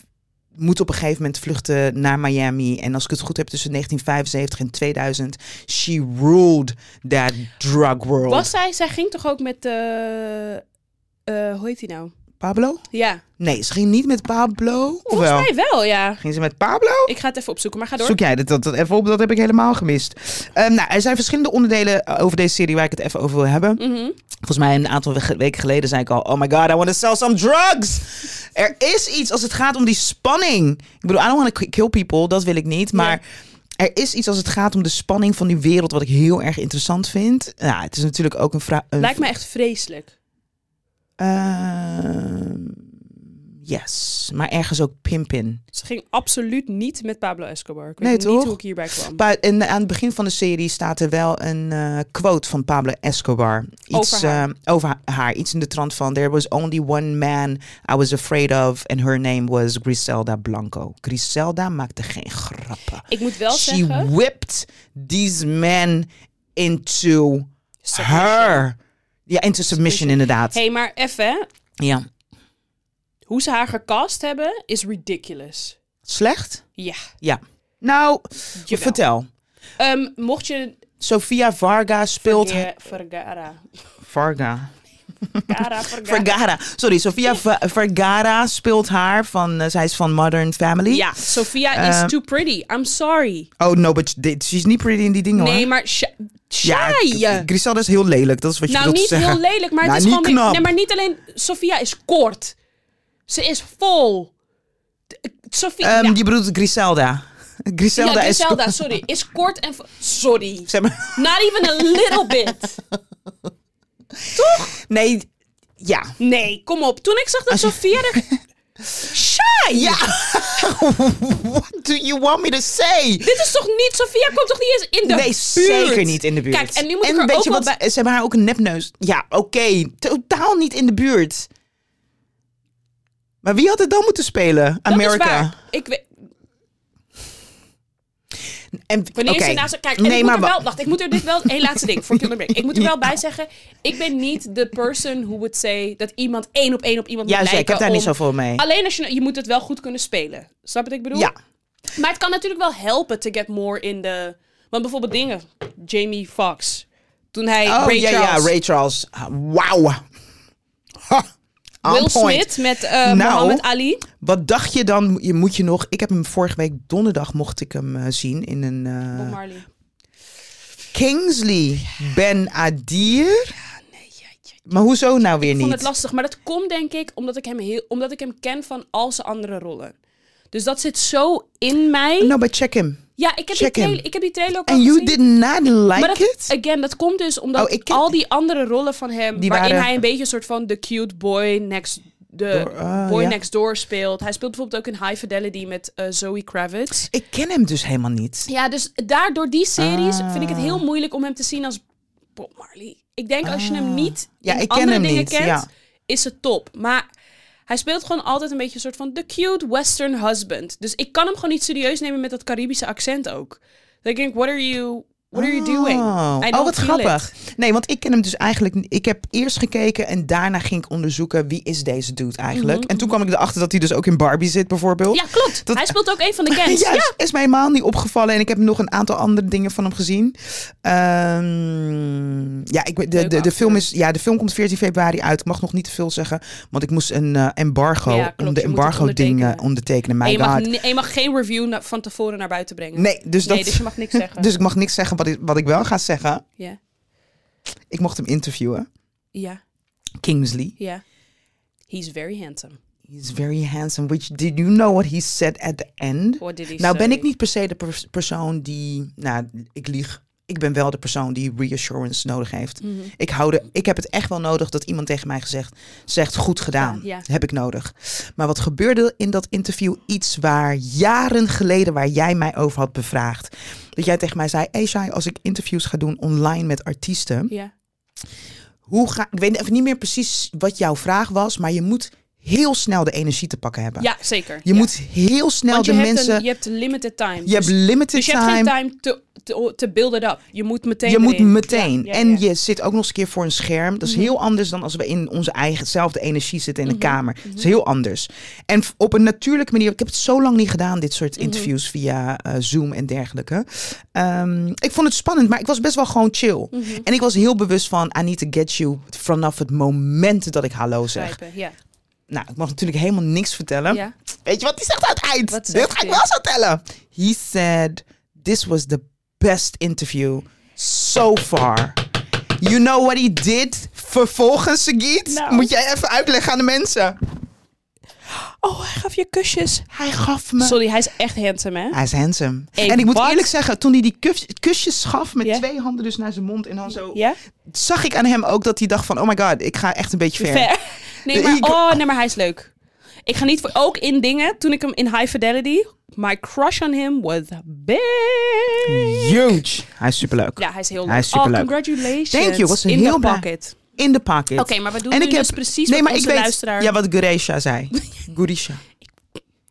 moet op een gegeven moment vluchten naar Miami. En als ik het goed heb, tussen 1975 en 2000, she ruled that drug world. was zij, zij ging toch ook met, eh, eh, hoe heet die nou? Pablo? Ja, Nee, ze ging niet met Pablo. Of volgens wel? mij wel, ja. Ging ze met Pablo? Ik ga het even opzoeken, maar ga door. Zoek jij dit- dat, dat even op? Dat heb ik helemaal gemist. Ehm, nou, er zijn verschillende onderdelen eh, over deze serie waar ik het even over wil hebben. Mhm. Volgens mij een aantal we- weken geleden zei ik al... Oh my god, I want to sell some drugs! Er is iets als het gaat om die spanning. Ik bedoel, I don't want to kill people, dat wil ik niet. Maar er is iets als het gaat om de spanning van die wereld... wat ik heel erg interessant vind. Nou, het is natuurlijk ook een vraag... Lijkt me echt vreselijk. Ehm, yes, maar ergens ook pimpin. Ze ging absoluut niet met Pablo Escobar. Ik weet Nee, niet toch? hoe ik hierbij kwam. Maar in, aan het begin van de serie staat er wel een eh, quote van Pablo Escobar. Iets Over haar. eh, over ha- haar. Iets in de trant van: There was only one man I was afraid of, and her name was Griselda Blanco. Griselda maakte geen grappen. ik moet wel She zeggen... whipped these men into her. Ja, into submission, Submission. inderdaad. Hé, hey, maar even, hè. Ja. hoe ze haar gecast hebben is ridiculous. Slecht? Ja. Nou, Jawel. vertel. Ehm, mocht je... Sofia Varga speelt. Ja, Vergara. Varga. [laughs] Cara Vergara. Vergara. Sorry, Sofia Va- Vergara speelt haar. Van, eh, zij is van Modern Family. Ja, Sophia is Ehm. too pretty. I'm sorry. Oh, no, but she- she's niet pretty in die dingen, hoor. Nee, maar shy. Ja, shy. G- Griselda is heel lelijk. Dat is wat je nou, bedoelt niet te zeggen. heel lelijk, maar Nou, het is niet gewoon... weer- knap. Nee, maar niet alleen... Sophia is kort. Ze is vol. D- Sophia... Ehm, ja. Je bedoelt Griselda. Griselda, ja, Griselda, is... sorry. Is kort en... vo- Sorry. Zeg maar, Not even a little bit. nee, ja. Nee, kom op. Toen ik zag dat Sophia [laughs] er... Shy! Ja. [laughs] What do you want me to say? Dit is toch niet... Sophia komt toch niet eens in de nee, buurt? zeker niet in de buurt. Kijk, en nu moet ik er weet ook je wel wat, Ze hebben haar ook een nepneus. Ja, oké. Totaal niet in de buurt. Maar wie had het dan moeten spelen? Dat America. is waar. Ik weet... En, Wanneer oké. ze naast Kijk, en Nee, ik moet maar er wa- wel... Wacht, ik moet er dit wel... Eén laatste ding voor Killer Break. Ik moet er wel bij zeggen... Ik ben niet de person who would say... dat iemand één op één op iemand moet Juist, ja, lijken ik heb daar niet om- zoveel mee. Alleen als je... Je moet het wel goed kunnen spelen. Snap je wat ik bedoel? Ja. Maar het kan natuurlijk wel helpen to get more in de... Want bijvoorbeeld dingen... Jamie Foxx. Toen hij Oh, Ray ja, Charles... ja, Ray Charles. Ah, Wauw. Ha, on Will point. Smith met eh Nou. Muhammad Ali. Wat dacht je dan? Je Moet je nog... Ik heb hem vorige week donderdag mocht ik hem eh, zien in een... eh, Bob Marley. Kingsley Ben Adir. Maar hoezo nou weer Ik vond niet? het lastig, maar dat komt denk ik omdat ik hem, heel, omdat ik hem ken van al zijn andere rollen. Dus dat zit zo in mij. No, but check him. ja, ik heb, die Nou, check him. trailer, ik heb die trailer ook al And you gezien. did not like Oh, maar dat, it? again, dat komt dus omdat Oh, ik ken- al die andere rollen van hem, Die waarin waren- hij een beetje een soort van de cute boy next, de Door- ah, boy ja. next door speelt. Hij speelt bijvoorbeeld ook in High Fidelity met eh, Zoe Kravitz. Ik ken hem dus helemaal niet. Ja, dus daardoor die series Ah. vind ik het heel moeilijk om hem te zien als Bob Marley. Ik denk als je hem Ah. niet Ja, in ik ken andere hem dingen niet, kent, ja. is het top. Maar hij speelt gewoon altijd een beetje een soort van the cute western husband. Dus ik kan hem gewoon niet serieus nemen met dat Caribische accent ook. Dan denk ik, what are you, what are you doing? Oh, I Oh, don't wat feel grappig. it. Nee, want ik ken hem dus eigenlijk... ni- Ik heb eerst gekeken en daarna ging ik onderzoeken... wie is deze dude eigenlijk? En toen kwam ik erachter dat hij dus ook in Barbie zit bijvoorbeeld. Mhm, Ja, klopt. Dat- Hij speelt ook een [laughs] van de Kens. Ja, ja. is- is mij helemaal niet opgevallen. En ik heb nog een aantal andere dingen van hem gezien. Ehm, ja, ik, weet- de, de, de, acteur. film is, ja, de film komt 14 februari uit. Ik mag nog niet te veel zeggen, want ik moest een eh, embargo... eh, Ja, klopt. om de Je moet het embargo-dingen ondertekenen. ondertekenen. En My je, mag, god. ni- en je mag geen review na- van tevoren naar buiten brengen. Nee, dus dat... Nee, dus je mag [laughs] niks zeggen. dus ik mag niks zeggen wat ik, wat ik wel ga zeggen. Ja, Ik mocht hem interviewen. ja, Kingsley. ja. He's very handsome. He's very handsome. Which did you know what he said at the end? What did he nou ben say? ik niet per se de pers- persoon die, nou ik lieg. Ik ben wel de persoon die reassurance nodig heeft. Mhm. Ik, hou de, ik heb het echt wel nodig dat iemand tegen mij gezegd, zegt goed gedaan. Ja, ja. Heb ik nodig. Maar wat gebeurde in dat interview? Iets waar jaren geleden, waar jij mij over had bevraagd. Dat jij tegen mij zei, hey Shai, als ik interviews ga doen online met artiesten. Ja. Hoe ga, ik weet even niet meer precies wat jouw vraag was. Maar je moet heel snel de energie te pakken hebben. Ja, zeker. Je Ja. moet heel snel Want je de hebt mensen. Een, je hebt limited time. je hebt limited dus je time. hebt geen time te, te, te build it up. Je moet meteen je moet erin. meteen. Ja, ja, en ja. Mhm. je zit ook nog eens een keer voor een scherm. Dat is heel anders dan als we in onze eigen zelfde energie zitten in de kamer. Dat Mhm. is heel anders. En f- op een natuurlijke manier. Ik heb het zo lang niet gedaan, dit Mhm. soort interviews via eh, Zoom en dergelijke. Ehm, ik vond het spannend, maar ik was best wel gewoon chill. Mhm. En ik was heel bewust van, I need to get you vanaf het moment dat ik hallo zeg. Begrijpen, Ja. Nou, ik mag natuurlijk helemaal niks vertellen. Ja. Weet je wat hij zegt aan het eind? Wat zegt Dit ga ik hij? wel zo tellen. He said, this was the best interview so far. You know what he did? Vervolgens, Sagit? Nou. Moet jij even uitleggen aan de mensen. Oh, hij gaf je kusjes. Hij gaf me... Sorry, hij is echt handsome, hè? Hij is handsome. Hey, en ik moet wat? eerlijk zeggen, toen hij die kus- kusjes gaf met Ja. twee handen dus naar zijn mond en dan zo... Ja? Zag ik aan hem ook dat hij dacht van, oh my god, ik ga echt een beetje ver. Ver. [laughs] Nee, De maar, ego- oh, nee, maar hij is leuk. Ik ga niet voor... Ook in dingen, toen ik hem in High Fidelity... My crush on him was big. Huge. Hij is superleuk. Ja, hij is heel leuk. Hij is superleuk. Oh, congratulations. Thank you, was in heel the blij. pocket. In de pocket. Oké, maar we doen nu dus precies wat onze luisteraar... Ja, wat Guresha zei. [laughs] Gurisha.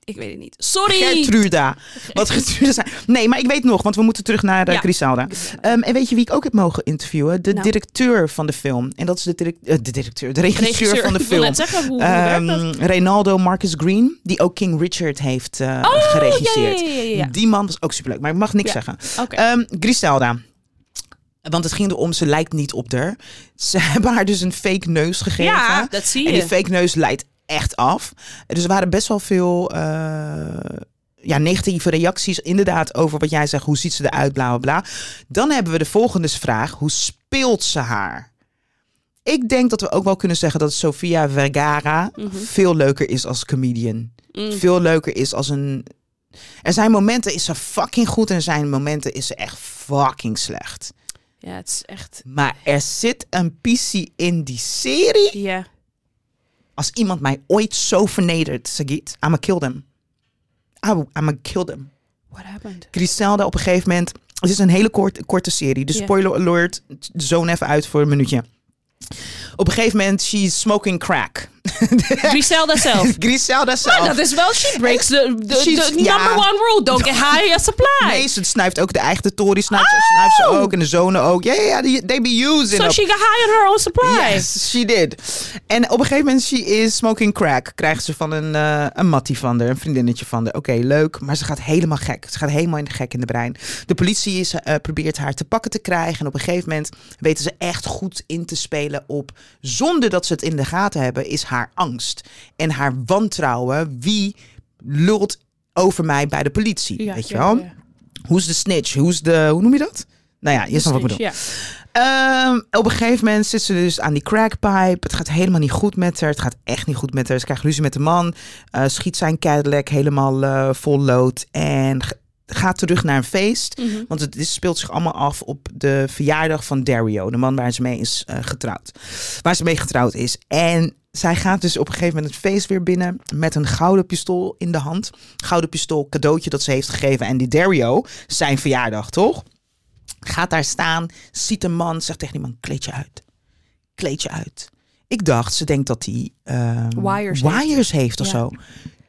Ik weet het niet. Sorry! Gertruda. Wat Gertruda zei. Nee, maar ik weet nog, want we moeten terug naar eh, Ja. Griselda. Ehm, en weet je wie ik ook heb mogen interviewen? De Nou. directeur van de film. En dat is de, direct, eh, de directeur, de regisseur, van de Ik wil film. net zeggen, hoe, hoe werkt dat? Ehm, Reynaldo Marcus Green, die ook King Richard heeft eh, Oh, ja, geregisseerd. ja, ja, ja, ja. Die man was ook superleuk, maar ik mag niks Ja. zeggen. Oké. Ehm, Griselda. Want het ging erom, ze lijkt niet op haar. Ze [laughs] hebben haar dus een fake neus gegeven. Ja, dat zie je. En die fake neus leidt echt af. Dus er waren best wel veel eh, ja, negatieve reacties. Inderdaad, over wat jij zegt. Hoe ziet ze eruit? Bla bla bla. Dan hebben we de volgende vraag: hoe speelt ze haar? Ik denk dat we ook wel kunnen zeggen dat Sofia Vergara veel leuker is als comedian. Mm. Mhm. Veel leuker is als een. Er zijn momenten is ze fucking goed en er zijn momenten is ze echt fucking slecht. Ja, het is echt... Maar er zit een pissie in die serie. Ja. Als iemand mij ooit zo vernedert, Sagit, I'ma kill them. Au, I'ma kill them. What [laughs] happened? Griselda op een gegeven moment... Het is een hele kort, korte serie. Dus Ja. spoiler alert, zoon even uit voor een minuutje. Op een gegeven moment, she's smoking crack. Griselda zelf. [laughs] Griselda zelf. Maar dat is wel, she breaks the, the, She's- the number ja. one rule. Don't get high your supply. Nee, ze snuift ook de eigen de Tory, snuift, snuift ze ook. En de zonen ook. Ja, ja, ja, die- they be using so up. she got high on her own supply. Yes, she did. En op een gegeven moment, she is smoking crack. Krijgt ze van een, eh een mattie van haar, een vriendinnetje van haar. Oké, leuk. Maar ze gaat helemaal gek. Ze gaat helemaal in de gek in de brein. De politie is, eh, probeert haar te pakken te krijgen. En op een gegeven moment weten ze echt goed in te spelen op... zonder dat ze het in de gaten hebben, is haar angst. En haar wantrouwen. Wie lult over mij bij de politie? Ja, weet je ja, wel? ja. Who's the snitch? Who's the... Hoe noem je dat? Nou ja, je snapt wat ik bedoel. Ja. Ehm, op een gegeven moment zit ze dus aan die crackpipe. Het gaat helemaal niet goed met haar. Het gaat echt niet goed met haar. Ze krijgt ruzie met de man. eh, schiet zijn Cadillac helemaal eh, vol lood. En g- gaat terug naar een feest. Mm-hmm. Mhm. Want het is- speelt zich allemaal af op de verjaardag van Dario. De man waar ze mee is eh, getrouwd. Waar ze mee getrouwd is. En zij gaat dus op een gegeven moment het feest weer binnen. Met een gouden pistool in de hand. Gouden pistool, cadeautje dat ze heeft gegeven. En die Dario, zijn verjaardag toch? Gaat daar staan, ziet een man, zegt tegen die man, kleed je uit. Kleed je uit. Ik dacht, ze denkt dat hij ehm, Wires heeft. wires heeft, of Ja. zo.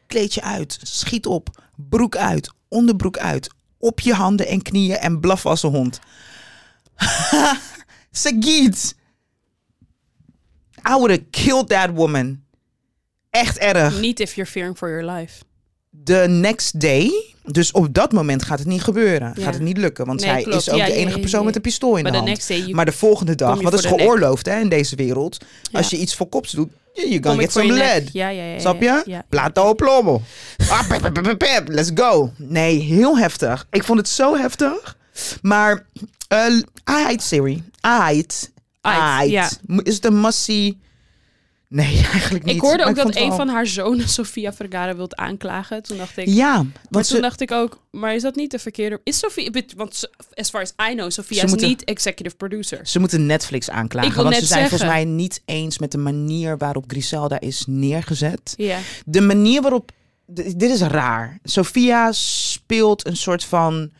Kleed je uit, schiet op, broek uit, onderbroek uit, op je handen en knieën en blaf als een hond. [laughs] Sagiet! I would have killed that woman. Echt erg Niet if you're fearing for your life. the next day. Dus op dat moment gaat het niet gebeuren. Ja. Gaat het niet lukken. Want Nee, zij klopt. is ook Ja, de ja, enige ja, persoon ja. met een pistool in Maar de the hand. next day you- maar de volgende kom dag, je want dat is voor de nek. geoorloofd hè, in deze wereld. Ja. Als je iets voor kops doet, je Kom kan ik get voor some je nek. lead. Ja, ja, ja. ja, Snap je? Eh, Ja. Plato o plomo. Ah, pep, pep, pep, pep, pep. Let's go. Nee, heel heftig. Ik vond het zo heftig. Maar eh I hate Siri. I hate. Ait, ja. Is het een massie? Nee, [laughs] eigenlijk niet. Ik hoorde Maar ook dat vond het een wel- van haar zonen [laughs] Sofia Vergara wilt aanklagen. Toen dacht ik... Ja, Maar want toen ze, dacht ik ook, maar is dat niet de verkeerde... Is Sofia... bet- Want so- as far as I know, Sofia Ze is moeten- niet executive producer. Ze moeten Netflix aanklagen. Ik wil want net ze zijn zeggen. volgens mij niet eens met de manier waarop Griselda is neergezet. Ja. De manier waarop. d- Dit is raar. Sophia speelt een soort van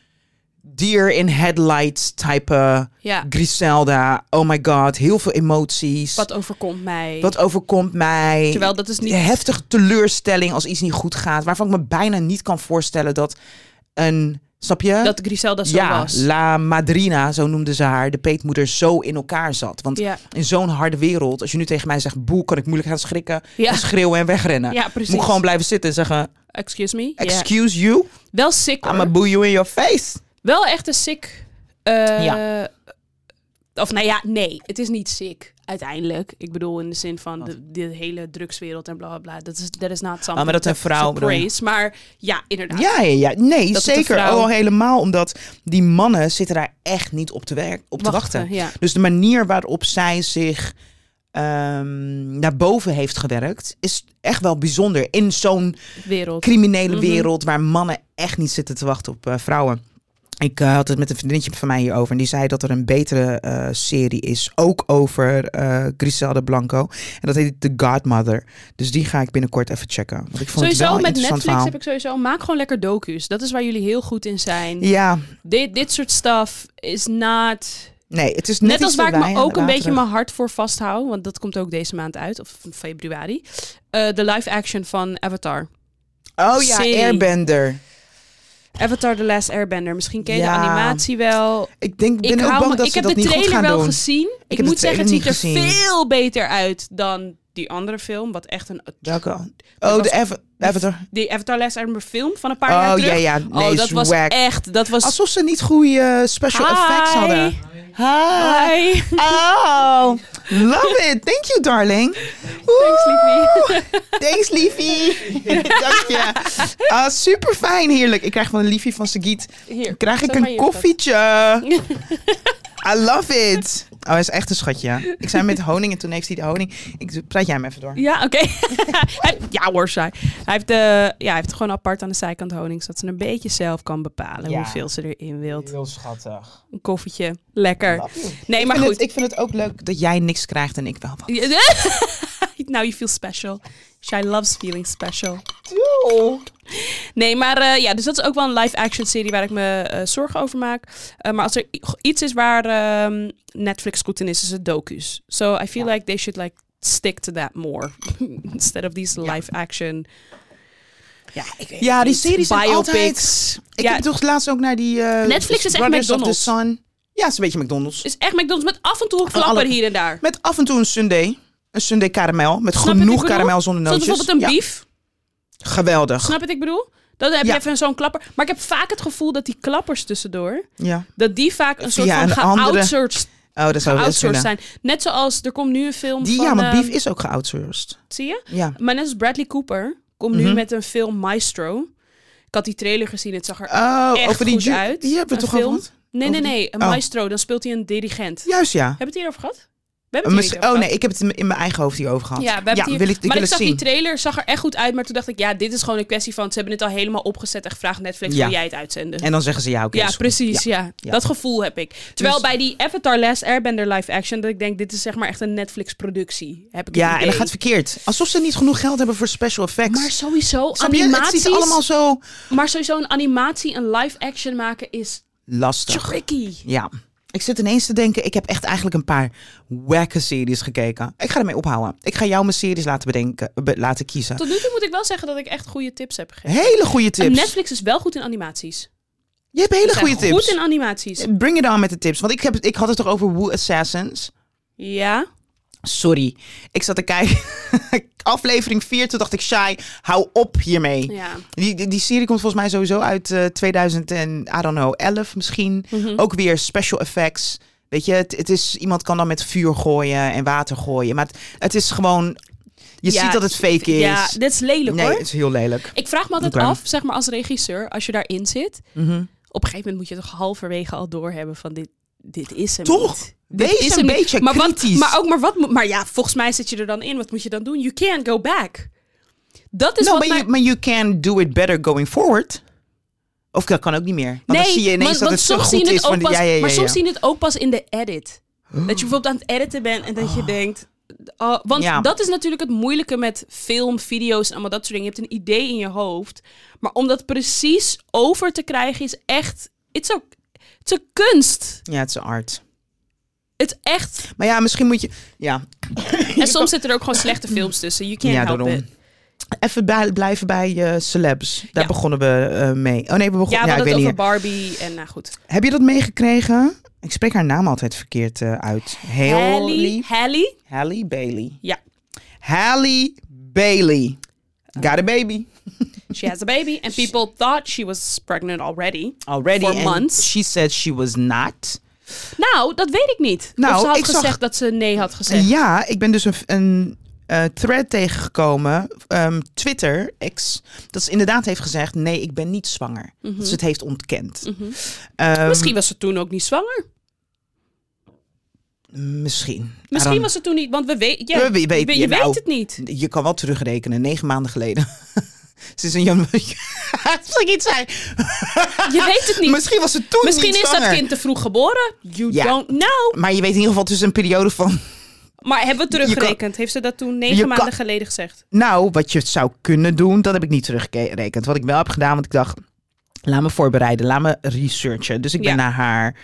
deer in headlights type Ja. Griselda. Oh my god, heel veel emoties. Wat overkomt mij? Wat overkomt mij? Terwijl dat is niet... Heftig teleurstelling als iets niet goed gaat. Waarvan ik me bijna niet kan voorstellen dat een. Snap je? Dat Griselda zo ja, was. La Madrina, zo noemde ze haar, de peetmoeder, zo in elkaar zat. Want Ja. in zo'n harde wereld, als je nu tegen mij zegt boe, kan ik moeilijk gaan schrikken, Ja. en schreeuwen en wegrennen. Ja, precies. Moet ik gewoon blijven zitten en zeggen, Excuse me? Ja. excuse you, Wel sick hoor. I'ma boo you in your face. Wel echt een sick... eh, Ja. Of nou ja, nee. Het is niet sick. Uiteindelijk. Ik bedoel, in de zin van de, de hele drugswereld en bla bla bla. Dat is, dat is not something Ah, maar dat een to- vrouw to bedoel je? praise. Maar ja, inderdaad. Ja, ja, ja. nee, Dat het zeker. een vrouw- Al helemaal omdat die mannen zitten daar echt niet op te, werk, op te wachten. Ja. Dus de manier waarop zij zich ehm, naar boven heeft gewerkt, is echt wel bijzonder. In zo'n Wereld. criminele Mhm. wereld waar mannen echt niet zitten te wachten op eh, vrouwen. Ik eh, had het met een vriendinnetje van mij hierover. En die zei dat er een betere eh, serie is. Ook over eh Griselda Blanco. En dat heet The Godmother. Dus die ga ik binnenkort even checken. Want ik vond het wel Sowieso een met interessant Netflix verhaal. heb ik sowieso. Maak gewoon lekker docu's. Dat is waar jullie heel goed in zijn. Ja, Dit, dit soort stuff is not. nee, het is net, Net, iets als te waar ik wij me aan ook een beetje waterig- mijn hart voor vasthoud. Want dat komt ook deze maand uit, of in februari. eh, de live action van Avatar. Oh ja, serie. Airbender. Avatar The Last Airbender. Misschien ken je Ja. de animatie wel. Ik denk, ik ben ik ook hou bang me- dat ik ze heb dat de niet goed trailer gaan wel doen. gezien. Ik, heb de moet zeggen, het ziet er trailer niet gezien. veel beter uit dan die andere film. Wat echt een... Welke? Oh, was- de Ava- Avatar. Die Avatar The Last Airbender film van een paar jaar Oh terug. ja, ja. Nee, oh, dat was swag. echt... Dat was... Alsof ze niet goede eh, special Hi. effects hadden. Hi. Hi. Oh, love it. Thank you, darling. Thanks, liefie. Thanks, liefie. [laughs] Dank je. Ah, super fijn, heerlijk. Ik krijg van liefie van Sagiet. Hier. Krijg ik zeg maar een hier, koffietje? I love it. Oh, hij is echt een schatje. Ik zei met honing en toen heeft hij de honing. Ik praat jij hem even door. Ja, oké. [laughs] Hij- ja hoor, zij. Hij heeft, de ja, hij heeft gewoon apart aan de zijkant honing, zodat ze een beetje zelf kan bepalen Ja. hoeveel ze erin wilt. Heel schattig. Een koffietje, lekker. Nee, maar ik, vind goed. het, ik vind het ook leuk dat jij niks krijgt en ik wel wat. [laughs] Now you feel special. Shy loves feeling special. Doe. Nee, maar eh, ja, dus dat is ook wel een live-action serie waar ik me eh, zorgen over maak. Eh, maar als er i- iets is waar ehm, Netflix goed in is, is het docu's. So I feel Ja. like they should like stick to that more. [laughs] Instead of these Ja. live-action... Ja, ik weet Ja, het die niet. series zijn Biopics. Ik ja, heb toch laatst ook naar die... eh, Netflix is echt Brothers of the McDonald's. Sun. Ja, het is een beetje McDonald's. is echt McDonald's met af en toe een Van flapper alle- hier en daar. Met af en toe een sundae. Een sundae karamel. Met Snap je wat ik genoeg bedoel? karamel zonder Zoals nootjes. bijvoorbeeld een Ja, bief. geweldig. Snap je wat ik bedoel? Dan heb je Ja. even zo'n klapper. Maar ik heb vaak het gevoel dat die klappers tussendoor... Ja. dat die vaak een soort Ja, van een andere- geoutsourced Oh, dat zou wel eens geoutsourced kunnen. zijn. Net zoals, er komt nu een film Die, van... ja, maar ehm, Beef is ook geoutsourced. Zie je? Ja. Maar net als Bradley Cooper komt nu Mhm. met een film Maestro. Ik had die trailer gezien, het zag er... Oh, Echt over die goed ju- uit. Die hebben we Een toch al film. gehad? Nee, nee, over die- nee. Een Oh. Maestro, dan speelt hij een dirigent. Juist, ja. Hebben we het hierover gehad? We hebben het Misschien- hierover oh gehad. nee, ik heb het in- in mijn eigen hoofd hierover gehad. Ja, we hebben het hier- wil ik, ik maar ik wil het zag zien. die trailer, zag er echt goed uit. Maar toen dacht ik, ja, dit is gewoon een kwestie van... Ze hebben het al helemaal opgezet en gevraagd Netflix, Ja. wil jij het uitzenden? En dan zeggen ze ja, oké. ja, is goed. precies, ja. Ja. Dat gevoel heb ik. Terwijl Dus- bij die Avatar Last Airbender live action... dat ik denk, dit is zeg maar echt een Netflix-productie. Heb ik het Ja, en dat idee. gaat verkeerd. Alsof ze niet genoeg geld hebben voor special effects. Maar sowieso Snap je? Het animaties... ziet er allemaal zo Maar sowieso een animatie, een live action maken is lastig. tricky. Ja. Ik zit ineens te denken, ik heb echt eigenlijk een paar wacke series gekeken. Ik ga ermee ophouden. Ik ga jou mijn series laten bedenken, eh, be- laten kiezen. Tot nu toe moet ik wel zeggen dat ik echt goede tips heb gegeven. Hele goede En tips. Netflix is wel goed in animaties. Je hebt hele Ze zijn goede Goed tips. in animaties. Bring it on met de tips. Want ik, heb, ik had het toch over Woo Assassins. Ja. Sorry. Ik zat te kijken. [laughs] Aflevering 4, toen dacht ik, Shai, hou op hiermee. Ja. Die, die, die serie komt volgens mij sowieso uit eh 2000 en, I don't know, 11 misschien. Hm. Ook weer special effects. Weet je, het, het is, iemand kan dan met vuur gooien en water gooien. Maar het, het is gewoon, je Ja, ziet dat het fake is. Ja, dit is lelijk nee, hoor. het is heel lelijk. Ik vraag me altijd Oké. af, zeg maar als regisseur, als je daarin zit. Mhm. Op een gegeven moment moet je toch halverwege al doorhebben van dit, dit is hem Toch? niet. Dit Wees is een hem niet. beetje maar kritisch. Wat, maar ook, maar wat moet, maar ja, volgens mij zit je er dan in. Wat moet je dan doen? You can't go back. Dat is no, dus wat but, mij... you, but you can do it better going forward. Of dat kan ook niet meer. Want dan zie je ineens want- dat want het zo soms goed zien het is. ook van, pas- ja, ja, ja, maar ja. soms zien het ook pas in de edit. Dat je bijvoorbeeld aan het editen bent en dat je denkt... oh, want Ah. Ja. dat is natuurlijk het moeilijke met film, video's en allemaal dat soort dingen. Je hebt een idee in je hoofd. Maar om dat precies over te krijgen is echt... Het is ook... Het is een kunst. Ja, het is art. Het is echt... Maar ja, misschien moet je... Ja, En soms zitten er ook gewoon slechte films tussen. You can't Ja, help daarom. it. Even bij- blijven bij eh, celebs. Daar Ja. begonnen we eh, mee. Oh nee, we Ja, begonnen... we Ja, ik hadden weet het niet. over Barbie en nou goed. Heb je dat meegekregen? Ik spreek haar naam altijd verkeerd eh, uit. Hallie. Haley. Hallie. Hallie Bailey. Ja. Hallie Bailey. Got a baby She has a baby. And people thought she was pregnant already. already. For and months. She said she was not. Nou, dat weet ik niet. Nou, of ze had ik zag- gezegd dat ze nee had gezegd. Ja, ik ben dus een, een eh, thread tegengekomen. ehm, Twitter, ex. Dat ze inderdaad heeft gezegd: nee, ik ben niet zwanger. Mhm. Dat ze het heeft ontkend. Mhm. Ehm, Misschien was ze toen ook niet zwanger. Misschien. Misschien Aaron, was ze toen niet, want we weten, ja, We- we- we- je ja, weet nou. het [laughs] niet. Je kan wel terugrekenen, negen maanden geleden. [laughs] Ze is in [laughs] januari. Als ik iets zei. Je weet het niet. Misschien was ze toen Misschien niet is zwanger. dat kind te vroeg geboren. You Ja. don't know. Maar je weet in ieder geval tussen een periode van. Maar hebben we teruggerekend? Heeft ze dat toen negen je maanden kan- geleden gezegd? Nou, wat je zou kunnen doen, dat heb ik niet teruggerekend. Wat ik wel heb gedaan, want ik dacht, laat me voorbereiden, laat me researchen. Dus ik ben Ja. naar haar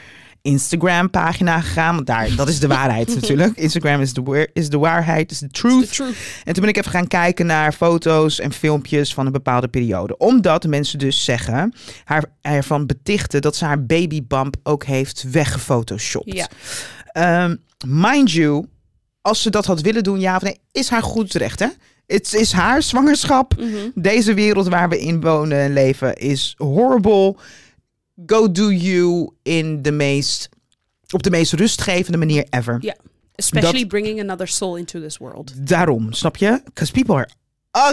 Instagram pagina gegaan, want daar, dat is de [laughs] waarheid natuurlijk. Instagram is de, waar- is de waarheid, is de The truth. truth. En toen ben ik even gaan kijken naar foto's en filmpjes van een bepaalde periode. Omdat mensen dus zeggen, haar ervan betichten dat ze haar babybump ook heeft weggefotoshopt. Ja. Ehm, mind you, als ze dat had willen doen, ja of nee, is haar goed recht, hè? Het is haar zwangerschap. Mhm. Deze wereld waar we in wonen en leven is horrible. Go do you in de meest, op de meest rustgevende manier ever. Ja. Especially bringing another soul into this world. Daarom, snap je? Because people are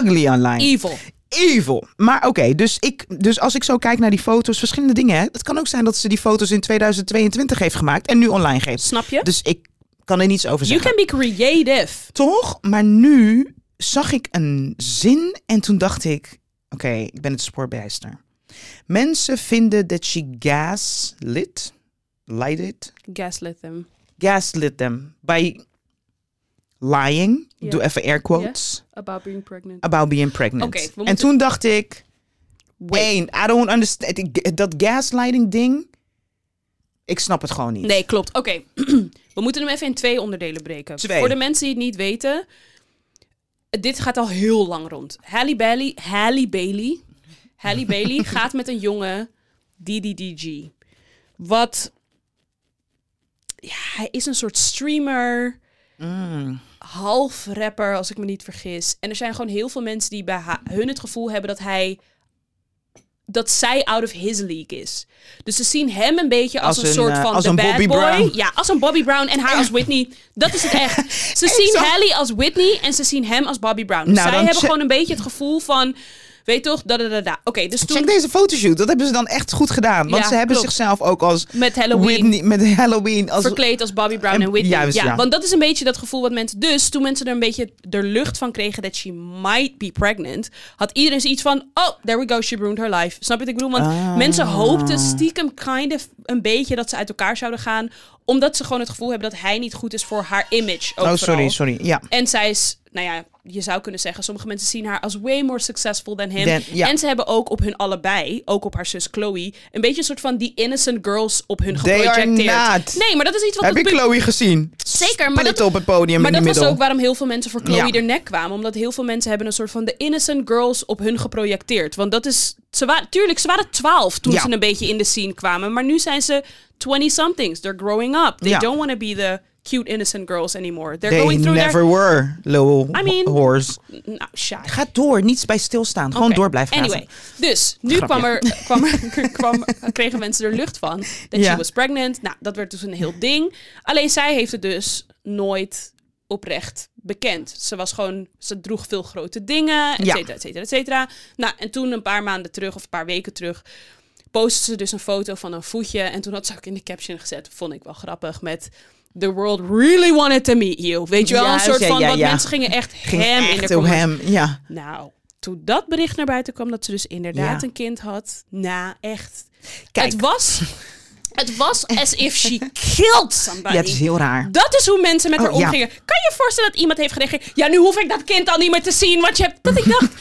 ugly online. Evil. evil. Maar oké, dus, ik, dus als ik zo kijk naar die foto's, verschillende dingen. Hè? Het kan ook zijn dat ze die foto's in 2022 heeft gemaakt en nu online geeft. Snap je? Dus ik kan er niets over You zeggen. can be creative. Toch? Maar nu zag ik een zin en toen dacht ik, oké, ik ben het spoorbijster. Mensen vinden dat she gaslit, lighted, Gaslit them. gaslit them by lying, Ja. doe even air quotes, About being pregnant. about being pregnant. Oké, we en moeten- toen dacht ik, Wait. Wayne, I don't understand. Ik- Dat gaslighting ding, ik snap het gewoon niet. Nee, klopt. Oké, [clears throat] we moeten hem even in twee onderdelen breken. Twee. Voor de mensen die het niet weten, dit gaat al heel lang rond. Halle Bailey, Halle Bailey, Halle [laughs] Bailey gaat met een jongen, DDDG. Wat, ja, hij is een soort streamer, Mm. half rapper als ik me niet vergis. En er zijn gewoon heel veel mensen die bij ha- hun het gevoel hebben dat hij dat zij out of his league is. Dus ze zien hem een beetje als, Als een, een, soort eh, van als de een bad Bobby boy. Brown. Ja, als een Bobby Brown en haar als Whitney. Dat is het echt. [laughs] Ze zien zag- Halle als Whitney en ze zien hem als Bobby Brown. Dus Nou, zij dan hebben che- gewoon een beetje het gevoel van, weet toch, da da da da. Oké, dus Check toen deze fotoshoot, dat hebben ze dan echt goed gedaan. Want Ja, ze hebben klopt. zichzelf ook als met Halloween. Whitney, met Halloween. Als, verkleed als Bobby Brown en, En- Whitney. juist, ja, ja. Want dat is een beetje dat gevoel wat mensen... Dus toen mensen er een beetje de lucht van kregen dat she might be pregnant... had iedereen zoiets van, oh, there we go, she ruined her life. Snap je wat ik bedoel? Want Ah. mensen hoopten stiekem kind of een beetje dat ze uit elkaar zouden gaan... omdat ze gewoon het gevoel hebben dat hij niet goed is voor haar image. Ook vooral. oh, sorry, sorry. Ja. En zij is, nou ja, je zou kunnen zeggen, sommige mensen zien haar als way more successful dan hem. Dan- ja. En ze hebben ook op hun allebei, ook op haar zus Chloe, een beetje een soort van die innocent girls op hun They are geprojecteerd. not. Nee, maar dat is iets wat Heb het je pub- Chloe gezien? Zeker, maar Split dat- op het podium maar in de dat was middel. ook waarom heel veel mensen voor Chloe Ja. er nek kwamen. Omdat heel veel mensen hebben een soort van de innocent girls op hun geprojecteerd. Want dat is... Ze waren, tuurlijk, ze waren twaalf toen Ja. ze een beetje in de scene kwamen. Maar nu zijn ze 20-somethings. They're growing up. They Ja. don't want to be the cute innocent girls anymore. They're They going through never were, lol, I mean- horse. their... Nou, shy. Ga door, niets bij stilstaan. Gewoon Oké. door blijven praten. Anyway, dus nu Grapje. kwam er, [laughs] kwam er, kwam, kregen mensen er lucht van. Dat Ja. she was pregnant. Nou, dat werd dus een heel ding. Alleen zij heeft het dus nooit oprecht bekend. Ze was gewoon, ze droeg veel grote dingen, et Ja. cetera, et cetera, et cetera. Nou, en toen een paar maanden terug, of een paar weken terug, postte ze dus een foto van een voetje. En toen had ze ook in de caption gezet, vond ik wel grappig, met... The world really wanted to meet you. Weet je wel, een Juist, soort ja, van, ja, want ja. mensen gingen echt Ging hem in de echt op comments. hem, ja. Nou, toen dat bericht naar buiten kwam dat ze dus inderdaad Ja. een kind had. Nou, echt. Kijk. Het was, het was as if she killed somebody. Ja, het is heel raar. Dat is hoe mensen met Oh, haar ja. omgingen. Kan je je voorstellen dat iemand heeft gereageerd... Ja, nu hoef ik dat kind al niet meer te zien, want je hebt... Dat ik [laughs] dacht...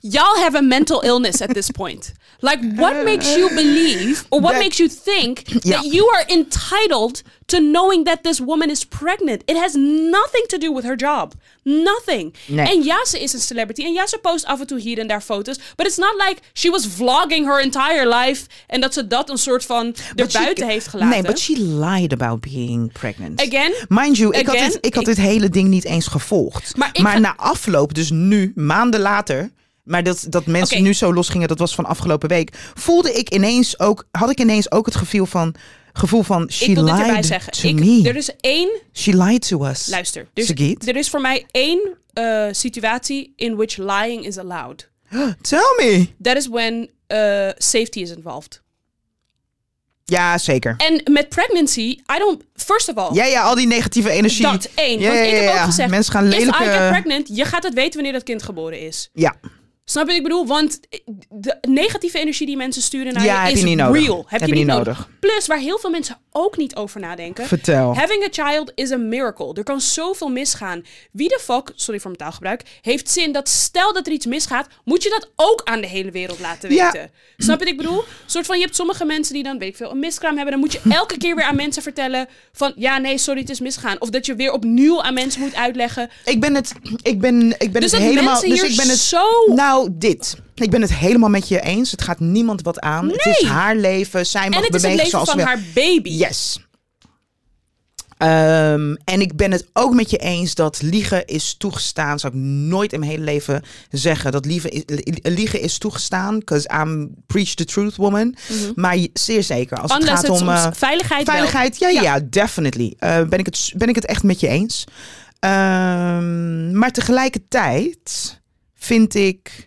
Y'all have a mental illness at this point. Like, what makes you believe, or what That- makes you think Ja. that you are entitled to knowing that this woman is pregnant? It has nothing to do with her job. Nothing. Nee. En ja, ze is een celebrity. En ja, ze post af en toe hier en daar foto's. But it's not like she was vlogging her entire life. En dat ze dat een soort van But she- erbuiten heeft gelaten. Nee, but she lied about being pregnant. Again? Mind you, ik, Again? had, dit, ik had dit hele ding niet eens gevolgd. Maar Maar, ik ga- na afloop, dus nu, maanden later... Maar dat, dat mensen Oké. nu zo losgingen, dat was van afgelopen week. Voelde ik ineens ook, had ik ineens ook het gevoel van... gevoel van she ik wil dit erbij lied zeggen. to Ik, me. er is één, She lied to us. luister, dus Sagiet? er is voor mij één eh, situatie in which lying is allowed. Tell me. That is when eh, safety is involved. Ja, zeker. En met pregnancy, I don't, first of all, Ja, ja, al die negatieve energie. dat één. Ja, want ja, ik heb ja, ook ja. gezegd, Mensen gaan lelijke... if I get pregnant, je gaat het weten wanneer dat kind geboren is. Ja, Snap je wat ik bedoel? Want eh, de negatieve energie die mensen sturen naar Ja, je heb is je niet nodig. real. Heb, je niet nodig. Plus, waar heel veel mensen ook niet over nadenken. Vertel. Having a child is a miracle. Er kan zoveel misgaan. Wie de fuck, sorry voor mijn taalgebruik, heeft zin dat stel dat er iets misgaat, moet je dat ook aan de hele wereld laten Ja. weten. Snap je wat ik bedoel? Een soort van, je hebt sommige mensen die dan, weet ik veel, een miskraam hebben. Dan moet je elke keer weer aan mensen vertellen van, ja, nee, sorry, het is misgaan. Of dat je weer opnieuw aan mensen moet uitleggen. Ik ben het, ik ben, ik ben Dus het dat helemaal... mensen Dus hier ik ben het, zo... Nou, dit. Ik ben het helemaal met je eens. Het gaat niemand wat aan. Het is Nee. haar leven. Zij mag en het is het bewegen leven zoals ze van wil. haar baby. Yes. Ehm, en ik ben het ook met je eens dat liegen is toegestaan. Zou ik nooit in mijn hele leven zeggen. Dat liegen is, liegen is toegestaan. Because I'm preach the truth woman. Maar je- zeer zeker. Als Unless het gaat om... Mhm. soms eh, veiligheid wel. Veiligheid, ja, ja, ja, definitely. Eh, ben, ik het, ben ik het echt met je eens. Ehm, maar tegelijkertijd vind ik...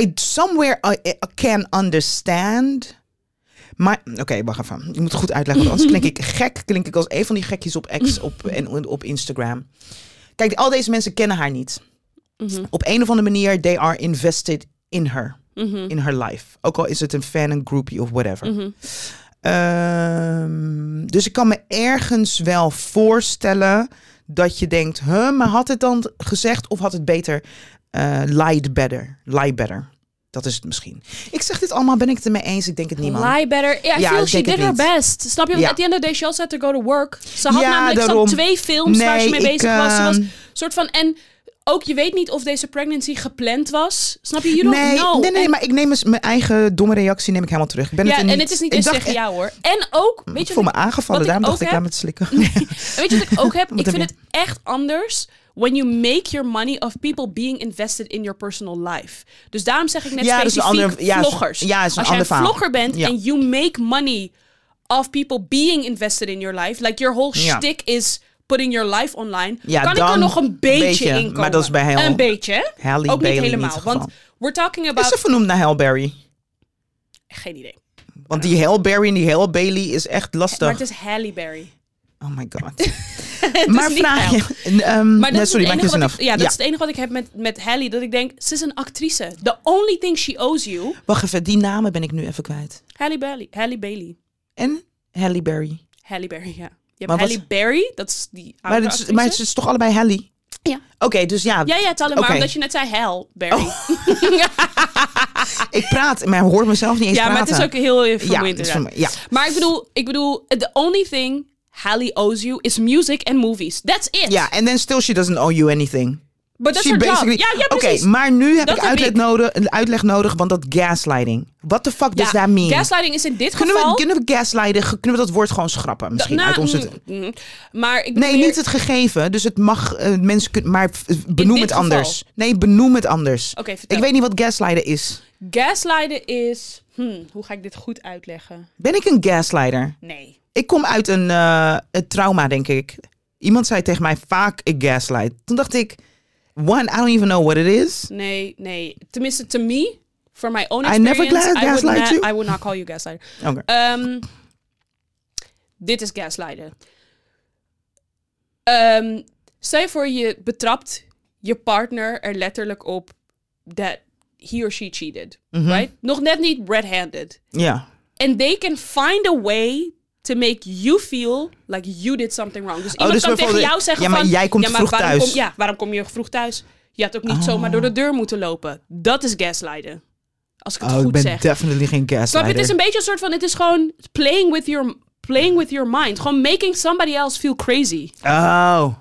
I somewhere I, I can understand... Maar, oké, wacht even. Ik moet het goed uitleggen, want anders klink ik gek. Klink ik als een van die gekjes op X op, en op Instagram. Kijk, al deze mensen kennen haar niet. Mhm. Op een of andere manier, they are invested in her. Mhm. In her life. Ook al is het een fan, een groupie of whatever. Mhm. Ehm, dus ik kan me ergens wel voorstellen dat je denkt, huh, maar had het dan gezegd of had het beter eh lied better, lie better. Dat is het misschien. Ik zeg dit allemaal, ben ik het ermee eens? Ik denk het niet, man. Lie better. Ja, I Ja, feel ik she denk did het her niet. best. Snap je? Want Ja. at the end of the day, she also had to go to work. Ze had Ja, namelijk zo'n daarom. twee films waar ze mee ik, bezig was. Ze was ehm, soort van... En ook, je weet niet of deze pregnancy gepland was. Snap je? You don't nee, know. nee, nee, En- maar ik neem eens mijn eigen domme reactie neem ik helemaal terug. Ik ben ja, het er en het is niet ik eens dacht tegen echt- jou hoor. En ook, Ik weet je, voel wat me ik, aangevallen, wat ik daarom dacht ook ik heb- laat me het slikken. [laughs] weet je wat ik ook heb? [laughs] Wat ik heb vind je? het echt anders when you make your money of people being invested in your personal life. Dus daarom zeg ik net Ja, dat is een specifiek andere- ja, is- vloggers. ja, is een Als jij ander een verhaal. vlogger bent Ja. en you make money of people being invested in your life, like your whole Ja. shtick is putting your life online, Ja, kan ik er dan nog een beetje, beetje, in komen. maar dat is bij heel- Een beetje, hè? Halle Ook Bailey niet in helemaal, dit geval. want we're talking Is about... ze vernoemd naar Hellberry? Geen idee. Want die Hellberry en die Halle Bailey is echt lastig. Maar het is Halle [laughs] Berry. Oh my god. [laughs] Het maar is niet vraag Halle. je. N- ehm, Maar dat nee, is het sorry, maak je enige zin wat af. ik, ja, dat is het enige wat ik heb met, met Hallie. Dat ik denk, ze is een actrice. The only thing she owes you. Wacht even, die namen ben ik nu even kwijt. Halle Bailey. Halle Bailey. En Halle Berry. Halle Berry, ja. Je Maar hebt wat- Halle Berry, Oh, dat is die Maar oude het, is, actrice. maar het is toch allebei Halle? Ja. Oké, dus ja, Ja, ja, het allemaal. Oké. Oh, Omdat je net zei Halle Berry. ik praat, maar hoort mezelf niet eens ja, maar het praten. is ook heel eh, ja, vermoeiend. het is inderdaad. vermoe- ja. Maar ik bedoel, ik bedoel, the only thing Halle owes you is music and movies. That's it. ja, en then still she doesn't owe you anything. But that's She her job. Ja, basically- ja, Oké, precies. maar nu heb Dat ik heb uitleg, ik. Nodig, een uitleg nodig, want dat gaslighting. What the fuck does Ja, that mean? Gaslighting is in dit kunnen, geval... we, kunnen we gaslighten, ge- kunnen we dat woord gewoon schrappen misschien Nou, uit onze... mm, mm. maar ik Nee, bedoel niet meer- het gegeven. Dus het mag, eh, mensen kunnen, maar eh, benoem dit het geval. anders. Nee, benoem het anders. Oké, vertel. ik weet niet wat gaslighten is. Gaslighten is. Hmm, hoe ga ik dit goed uitleggen? Ben ik een gaslighter? Nee. Ik kom uit een, eh, een trauma, denk ik. Iemand zei tegen mij vaak, ik gaslight. Toen dacht ik, one, I don't even know what it is. Nee, nee. Tenminste, to me, for my own I experience, never gla- I, would gaslight not- you. I would not call you gaslighter. Oké. Ehm, dit is gaslighten. Ehm stel je voor, je betrapt je partner er letterlijk op that he or she cheated. Mhm. Right? Nog net niet red-handed. Ja. And they can find a way to make you feel like you did something wrong. Dus iemand dus kan tegen bijvoorbeeld- jou zeggen ja, maar van... jij komt ja, maar vroeg waarom thuis. Oh. Kom, ja, waarom kom je vroeg thuis? Je had ook niet zomaar door de deur moeten lopen. Dat is gaslighten. Als ik het Oh, goed ik ben zeg. definitely geen Snap je? gaslighter. Het is een beetje een soort van... Het is gewoon playing with your, playing with your mind. Gewoon making somebody else feel crazy. Oh. Oh,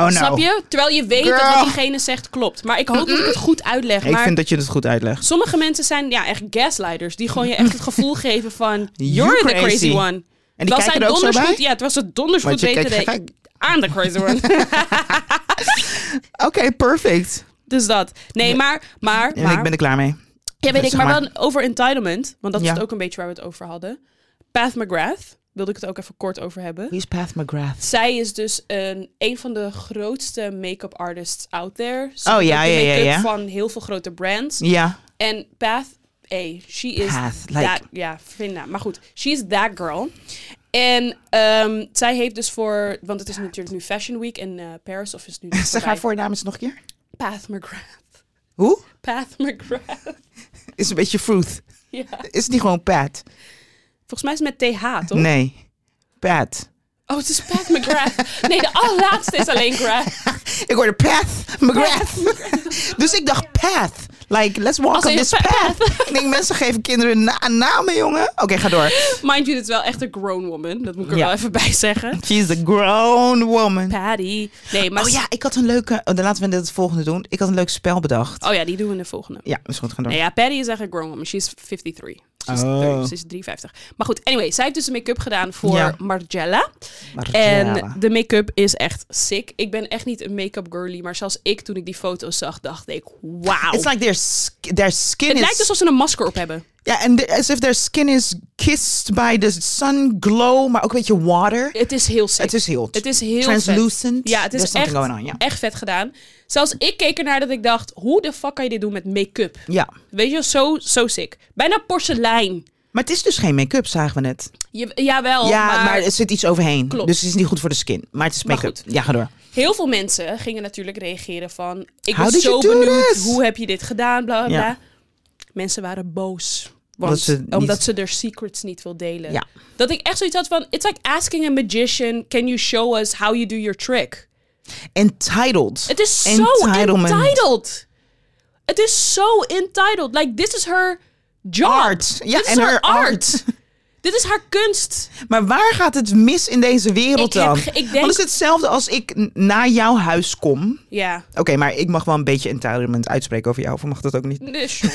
nou. Snap je? Terwijl je weet dat Girl. wat diegene zegt klopt. Maar ik hoop dat ik het goed uitleg. Ik maar vind dat je het goed uitlegt. sommige mensen zijn ja, echt gaslighters. Die gewoon je echt [laughs] het gevoel geven van... You're the crazy. crazy one. En die kijken er ook zo donders bij? goed, ja, het was het donders Want goed je weten kijkt dat gek- [laughs] ik aan de crazy one. [laughs] Oké, perfect. dus dat. Nee, maar, maar, En maar ik ben er klaar mee. Ja, weet ik, Zeg maar, maar. wel over entitlement, want dat Ja. is het ook een beetje waar we het over hadden. Path McGrath, wilde ik het ook even kort over hebben. Wie is Path McGrath? Zij is dus een, een van de grootste make-up artists out there. Ze Oh, doet ja, ook de ja, ja, make-up ja. Van heel veel grote brands. Ja, En Path, hey, she is Path. Like, that, ja, Finna. Maar goed, she is that girl. En ehm, zij heeft dus voor, want het is natuurlijk nu Fashion Week in eh, Paris, of is het nu net zeg voorbij. haar voornaam eens nog een keer. Path McGrath. Hoe? Path McGrath. [laughs] Is een beetje fruit. ja. Is het niet gewoon Pat? Volgens mij is het met TH, toch? Nee. [laughs] Pat. Oh, het is Pat McGrath. Nee, de allerlaatste is alleen Grath. Ik hoorde Path McGrath. [laughs] dus ik dacht Path. Like, let's walk Als on in this pa- path. ik denk, mensen geven kinderen na namen, jongen. Oké, ga door. Mind you, dit is wel echt een grown woman. Dat moet ik er Ja. wel even bij zeggen. She's a grown woman. Patty. Nee, maar... Oh ja, ik had een leuke... oh, dan laten we het volgende doen. Ik had een leuk spel bedacht. Oh ja, die doen we in de volgende. Ja, is goed, gaan door. Nee, ja, Patty is echt een grown woman. She is 53. Ze is, Oh. 30, ze is 53. Maar goed, anyway. Zij heeft dus een make-up gedaan voor Ja. Margiela. Maar En ja. de make-up is echt sick. Ik ben echt niet een make-up girly. Maar zelfs ik, toen ik die foto's zag, dacht ik... Wauw. It's like their, sk- their skin Het is... lijkt alsof ze een masker op hebben. Ja, en the- as if their skin is kissed by the sun glow, maar ook een beetje water. Het is heel sick. Het is heel... Het is heel translucent. vet. Ja, het is There's something echt, going on, ja. echt vet gedaan. Zelfs ik keek ernaar dat ik dacht, hoe de fuck kan je dit doen met make-up? Ja. Weet je, zo, zo sick. Bijna porselein. Maar het is dus geen make-up, zagen we net. Je, jawel, ja, maar, maar, er zit iets overheen. Klopt. Dus het is niet goed voor de skin. Maar het is Maar make-up. goed. Ja, ga door. heel veel mensen gingen natuurlijk reageren van... Ik How was did zo you do benieuwd, this? hoe heb je dit gedaan, bla bla Ja. bla. Mensen waren boos. Want, Omdat ze niet- omdat ze their secrets niet wil delen. Ja. Dat ik echt zoiets had van... It's like asking a magician, can you show us how you do your trick? Entitled. Het is zo Entitlement. entitled. Het is zo entitled. Like, this is her job. Art. Ja, Dit is en haar haar art. art. Dit is haar kunst. Maar waar gaat het mis in deze wereld Ik heb dan? ge- ik denk- Want het is hetzelfde als ik n- naar jouw huis kom. [laughs] Ja. Oké, maar ik mag wel een beetje entitlement uitspreken over jou. Of mag dat ook niet? Dus, sure,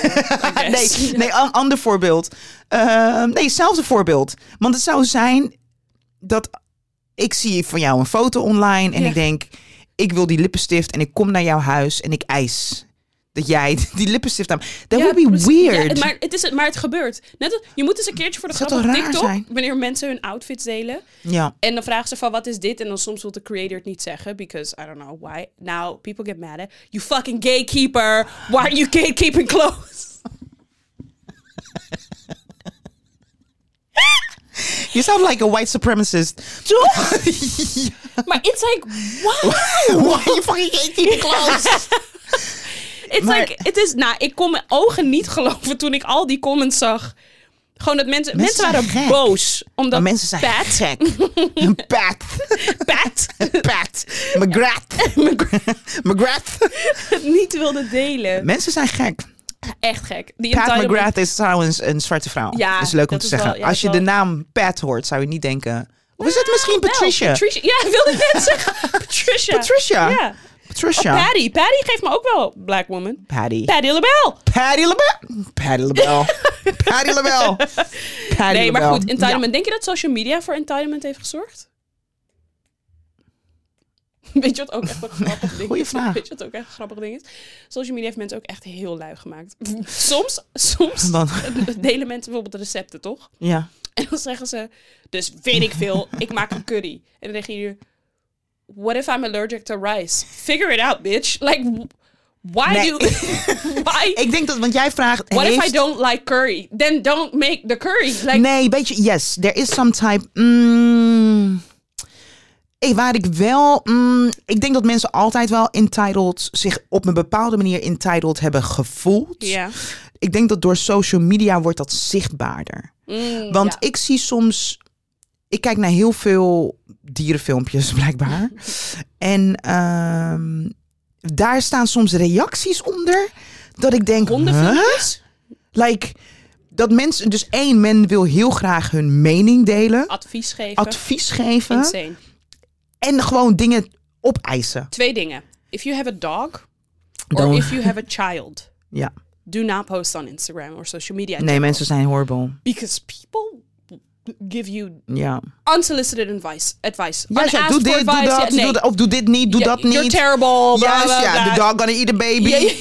I Nee, guess. nee an- ander voorbeeld. Ehm, nee, hetzelfde voorbeeld. Want het zou zijn dat ik zie van jou een foto online en Ja. ik denk, ik wil die lippenstift en ik kom naar jouw huis en ik eis dat jij [laughs] die lippenstift aan. That Ja, would be precies. weird. Ja, maar, het is, maar het gebeurt. Net als, je moet eens een keertje voor de Het grap zou op toch raar TikTok... zijn? wanneer mensen hun outfits delen... ja. en dan vragen ze van wat is dit... en dan soms wil de creator het niet zeggen... because I don't know why. Now, people get mad at... you fucking gatekeeper... why are you gatekeeping clothes? [laughs] You sound like a white supremacist. [laughs] Toch? maar it's like, wow. Why you fucking gatekeeping clothes? It's Maar- like, het is, nou, ik kon mijn ogen niet geloven toen ik al die comments zag. Gewoon dat mensen, mensen, Mensen waren zijn gek. boos. Omdat [laughs] Maar mensen zijn Pat, gek. Pat. Pat [laughs] Pat. McGrath. McGrath. het niet wilde delen. Mensen zijn gek. Echt gek. Die Pat entitlement- McGrath is trouwens een zwarte vrouw. Ja, dat is leuk om dat te is zeggen. wel- ja, Als je dat is de wel- naam Pat hoort, zou je niet denken... Of is het misschien Wel, Patricia? Patricia. Ja, wilde ik [laughs] net zeggen. Patricia. Patricia. Ja. Patricia. Patty. Patty geeft me ook wel black woman. Patty. Patty LaBelle. Patty LaBelle. Patty [laughs] LaBelle. Patty LaBelle. Patty Nee, maar LaBelle. goed. Entitlement. Denk je dat social media voor entitlement heeft gezorgd? [laughs] Weet je wat ook echt een grappig ding Goeie is? vraag. Weet je wat ook echt een grappig ding is? Social media heeft mensen ook echt heel lui gemaakt. [laughs] Soms, soms Ja. Dan, [laughs] delen mensen bijvoorbeeld recepten, toch? ja. En dan zeggen ze, dus weet ik veel, ik maak een curry. En dan zeggen jullie, what if I'm allergic to rice? Figure it out, bitch. Like, why Nee. do... [laughs] why... Ik denk dat, want jij vraagt... what if I heeft- don't like curry? Then don't make the curry. Like, Nee, weet je, yes, there is some type. mm, ik, waar ik wel. mm, ik denk dat mensen altijd wel entitled. zich op een bepaalde manier entitled hebben gevoeld. Ja. Ik denk dat door social media wordt dat zichtbaarder. Mm, Want ja. ik zie soms. Ik kijk naar heel veel dierenfilmpjes, [laughs] blijkbaar. en ehm, daar staan soms reacties onder. Dat ik denk. huh? Hondenfilmpjes? Like, dat mensen, dus één, men wil heel graag hun mening delen, Advies geven. advies geven Oh, Insane. en gewoon dingen opeisen. Twee dingen. If you have a dog, Dan- or if you have a child, Ja, do not post on Instagram or social media. nee, mensen zijn horrible. Because people give you Ja. unsolicited advice. advice. Ja, Unasked ja, doe for dit, doe advice. dat, Ja, nee. doe dat, of doe dit niet, doe Ja, dat niet. You're terrible. bla, Juist, bla, ja, bla. the dog gonna eat the baby. Ja, ja.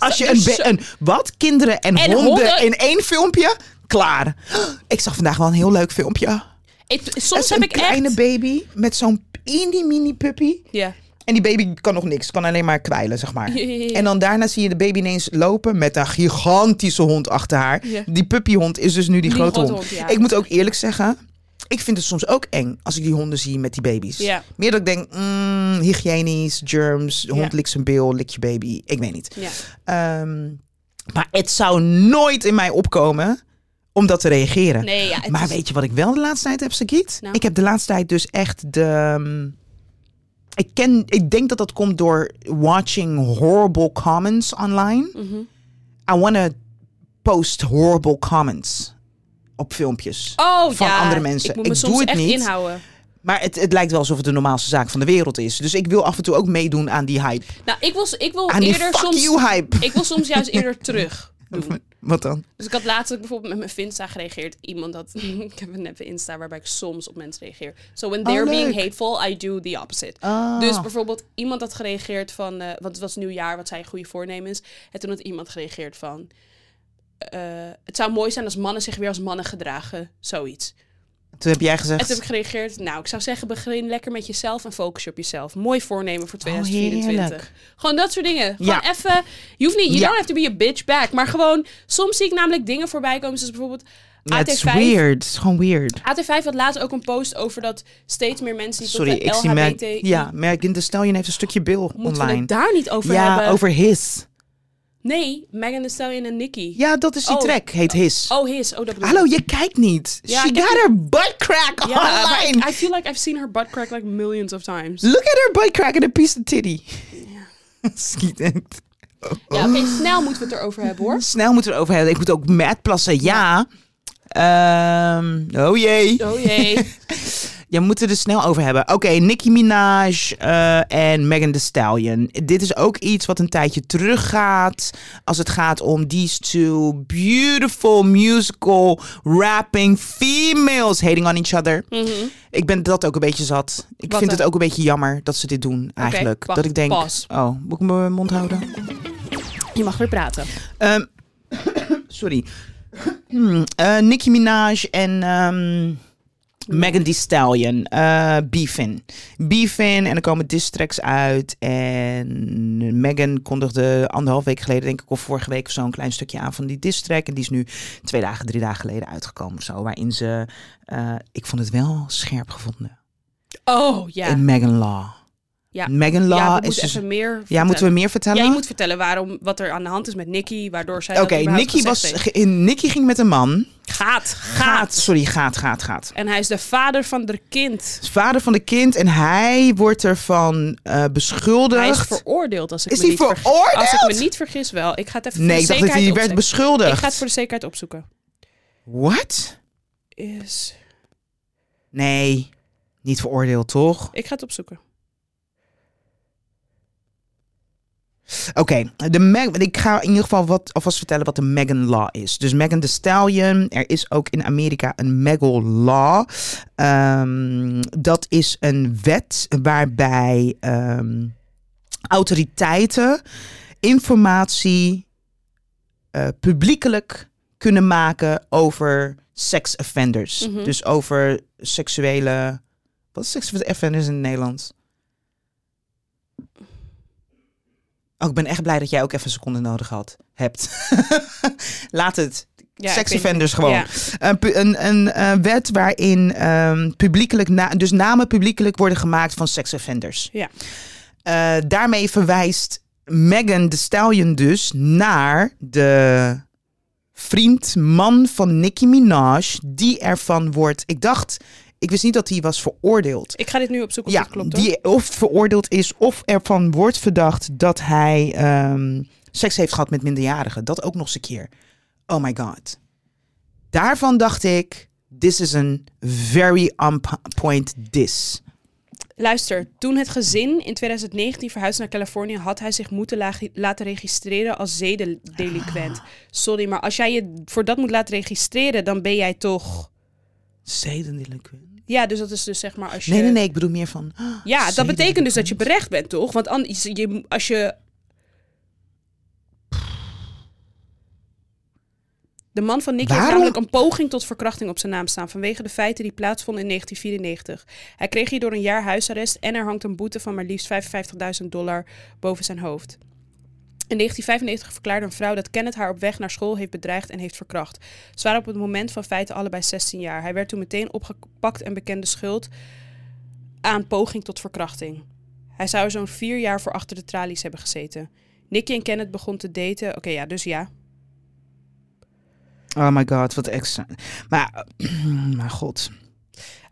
[laughs] als je er een, zo- be- een wat kinderen en, En honden, honden- in één filmpje klaar. [gasps] Ik zag vandaag wel een heel leuk filmpje. Ik- Het soms is heb een ik kleine echt... baby met zo'n mini mini puppy. Ja. En die baby kan nog niks, kan alleen maar kwijlen, zeg maar. [laughs] Ja, ja, ja. En dan daarna zie je de baby ineens lopen met een gigantische hond achter haar. Ja. Die puppyhond is dus nu die, Die grote hond. grote hond, ja. Ik moet ook eerlijk zeggen, ik vind het soms ook eng als ik die honden zie met die baby's. Ja. Meer dat ik denk, mm, hygiënisch, germs, de hond Ja. likt zijn bil, lik je baby. Ik weet niet. ja. Ehm, maar het zou nooit in mij opkomen om dat te reageren. Nee, ja. het Maar is- weet je wat ik wel de laatste tijd heb, Sagiet? Nou. Ik heb de laatste tijd dus echt de... mm, Ik, ken, ik denk dat dat komt door watching horrible comments online. Mhm. I wanna post horrible comments op filmpjes. Oh, van ja. andere mensen. Ik moet Ik me doe soms het echt niet. inhouden. Maar het, het lijkt wel alsof het de normaalste zaak van de wereld is. Dus ik wil af en toe ook meedoen aan die hype. Nou, ik wil, ik wil Aan die eerder fuck soms... you hype. Ik wil soms [laughs] juist eerder terug doen. Wat dan? Dus ik had laatst ook bijvoorbeeld met mijn Insta gereageerd. Iemand had... [laughs] ik heb een neppe Insta waarbij ik soms op mensen reageer. So when they're being Oh, leuk. hateful, I do the opposite. Ah. Dus bijvoorbeeld iemand had gereageerd van... eh, want het was nieuwjaar, wat zijn goede voornemens. En toen had iemand gereageerd van... eh, het zou mooi zijn als mannen zich weer als mannen gedragen. Zoiets. Toen heb jij En toen gezegd... heb ik gereageerd, nou, ik zou zeggen, begin lekker met jezelf en focus je op jezelf. Mooi voornemen voor Oh, heerlijk. 2024. gewoon dat soort dingen. Gewoon Ja. even, je hoeft niet, you Ja. don't have to be a bitch back. Maar gewoon, soms zie ik namelijk dingen voorbij komen, zoals bijvoorbeeld That's AT5. weird. Het is gewoon weird. AT5 had laatst ook een post over dat steeds meer mensen die Sorry, tot de ik zie LHBT... merk... Ja, merk in de stallion heeft een stukje bil Moeten we online. het daar niet over ja, hebben? over his. Nee, Megan Thee Stallion en Nicki. Ja, dat is die Oh. track, heet his. Oh, his. Oh, dat bedoel Hallo, ik. je kijkt niet. Ja, She ik got heb her butt crack Ja, maar online. ik- I feel like I've seen her butt crack like millions of times. Look at her butt crack and a piece of titty. [laughs] Schietend. Ja, oké, snel moeten we het erover hebben, hoor. Snel moeten we het over hebben. Ik moet ook mad plassen, ja. Ehm, oh jee. [laughs] Oh [laughs] jee. Je moet het er snel over hebben. Oké, Nicki Minaj eh, en Megan Thee Stallion. Dit is ook iets wat een tijdje teruggaat. Als het gaat om these two beautiful musical rapping females hating on each other. Mhm. Ik ben dat ook een beetje zat. Ik Wat vind dan? het ook een beetje jammer dat ze dit doen eigenlijk. wacht, dat ik denk, pas. oh, moet ik mijn mond houden? Je mag weer praten. Ehm, sorry. Hmm, eh, Nicki Minaj en ehm Megan Thee Stallion. eh Beefin. Beefin en er komen diss tracks uit. En Megan kondigde anderhalf week geleden, denk ik, of vorige week of zo, een klein stukje aan van die diss track. En die is nu twee dagen, drie dagen geleden uitgekomen of zo. Waarin ze, eh, ik vond het wel scherp gevonden. Oh ja. In Megan Law. Ja. Megan Law ja, we is moeten dus... even meer. Ja, moeten we meer vertellen? Ja, je moet vertellen waarom, wat er aan de hand is met Nicky, waardoor zij. Oké, dat überhaupt Nicky, gezegd was, heeft. ge- Nicky ging met een man. Gaat, gaat. Sorry, gaat, gaat, gaat. En hij is de vader van haar kind. is vader van de kind en hij wordt ervan eh beschuldigd. Hij is veroordeeld als ik Is me hij niet vergis- veroordeeld? Als ik me niet vergis wel. Ik ga het even voor nee, de ik dacht dat zekerheid hij werd opzoeken. beschuldigd. Ik ga het voor de zekerheid opzoeken. What? Is... Nee, niet veroordeeld toch? Ik ga het opzoeken. Oké, de Meg- ik ga in ieder geval wat, alvast vertellen wat de Megan Law is. Dus Megan Thee Stallion, er is ook in Amerika een Megal Law. Ehm, dat is een wet waarbij ehm, autoriteiten informatie eh, publiekelijk kunnen maken over sex offenders. Mhm. Dus over seksuele... Wat is sex offenders in het Nederlands? Oh, ik ben echt blij dat jij ook even een seconde nodig had, hebt. [laughs] Laat het. Ja, sex ik weet offenders niet. gewoon. Ja. Een, pu- een, een eh, wet waarin ehm, publiekelijk na- dus namen publiekelijk worden gemaakt van sex offenders. Ja. Eh, daarmee verwijst Megan de Stallion dus naar de vriend, man van Nicki Minaj, die ervan wordt. Ik dacht, ik wist niet dat hij was veroordeeld. Ik ga dit nu opzoeken. Ja, Ja, klopt hoor. die of veroordeeld is of ervan wordt verdacht dat hij ehm, seks heeft gehad met minderjarigen. Dat ook nog eens een keer. Oh my god. Daarvan dacht ik, this is een very on p- point diss. Luister, toen het gezin in 2019 verhuisde naar Californië, had hij zich moeten laag- laten registreren als Ah. zedendeliquent. Sorry, maar als jij je voor dat moet laten registreren, dan ben jij toch. Zedendeliquent. Ja, dus dat is dus zeg maar als je. Nee, nee, nee, ik bedoel meer van... [gasps] Ja, dat betekent dus dat je zedendeliquent. berecht bent, toch? Want anders, je, als je. De man van Nicky heeft Waarom? namelijk een poging tot verkrachting op zijn naam staan vanwege de feiten die plaatsvonden in 1994. Hij kreeg hierdoor een jaar huisarrest en er hangt een boete van maar liefst 55.000 dollar boven zijn hoofd. In 1995 verklaarde een vrouw dat Kenneth haar op weg naar school heeft bedreigd en heeft verkracht. Ze waren op het moment van feiten allebei 16 jaar. Hij werd toen meteen opgepakt en bekende schuld aan poging tot verkrachting. Hij zou er zo'n vier jaar voor achter de tralies hebben gezeten. Nicky en Kenneth begon te daten. Oké, ja, dus ja. Oh my god, wat extra. Maar, [clears throat] maar god.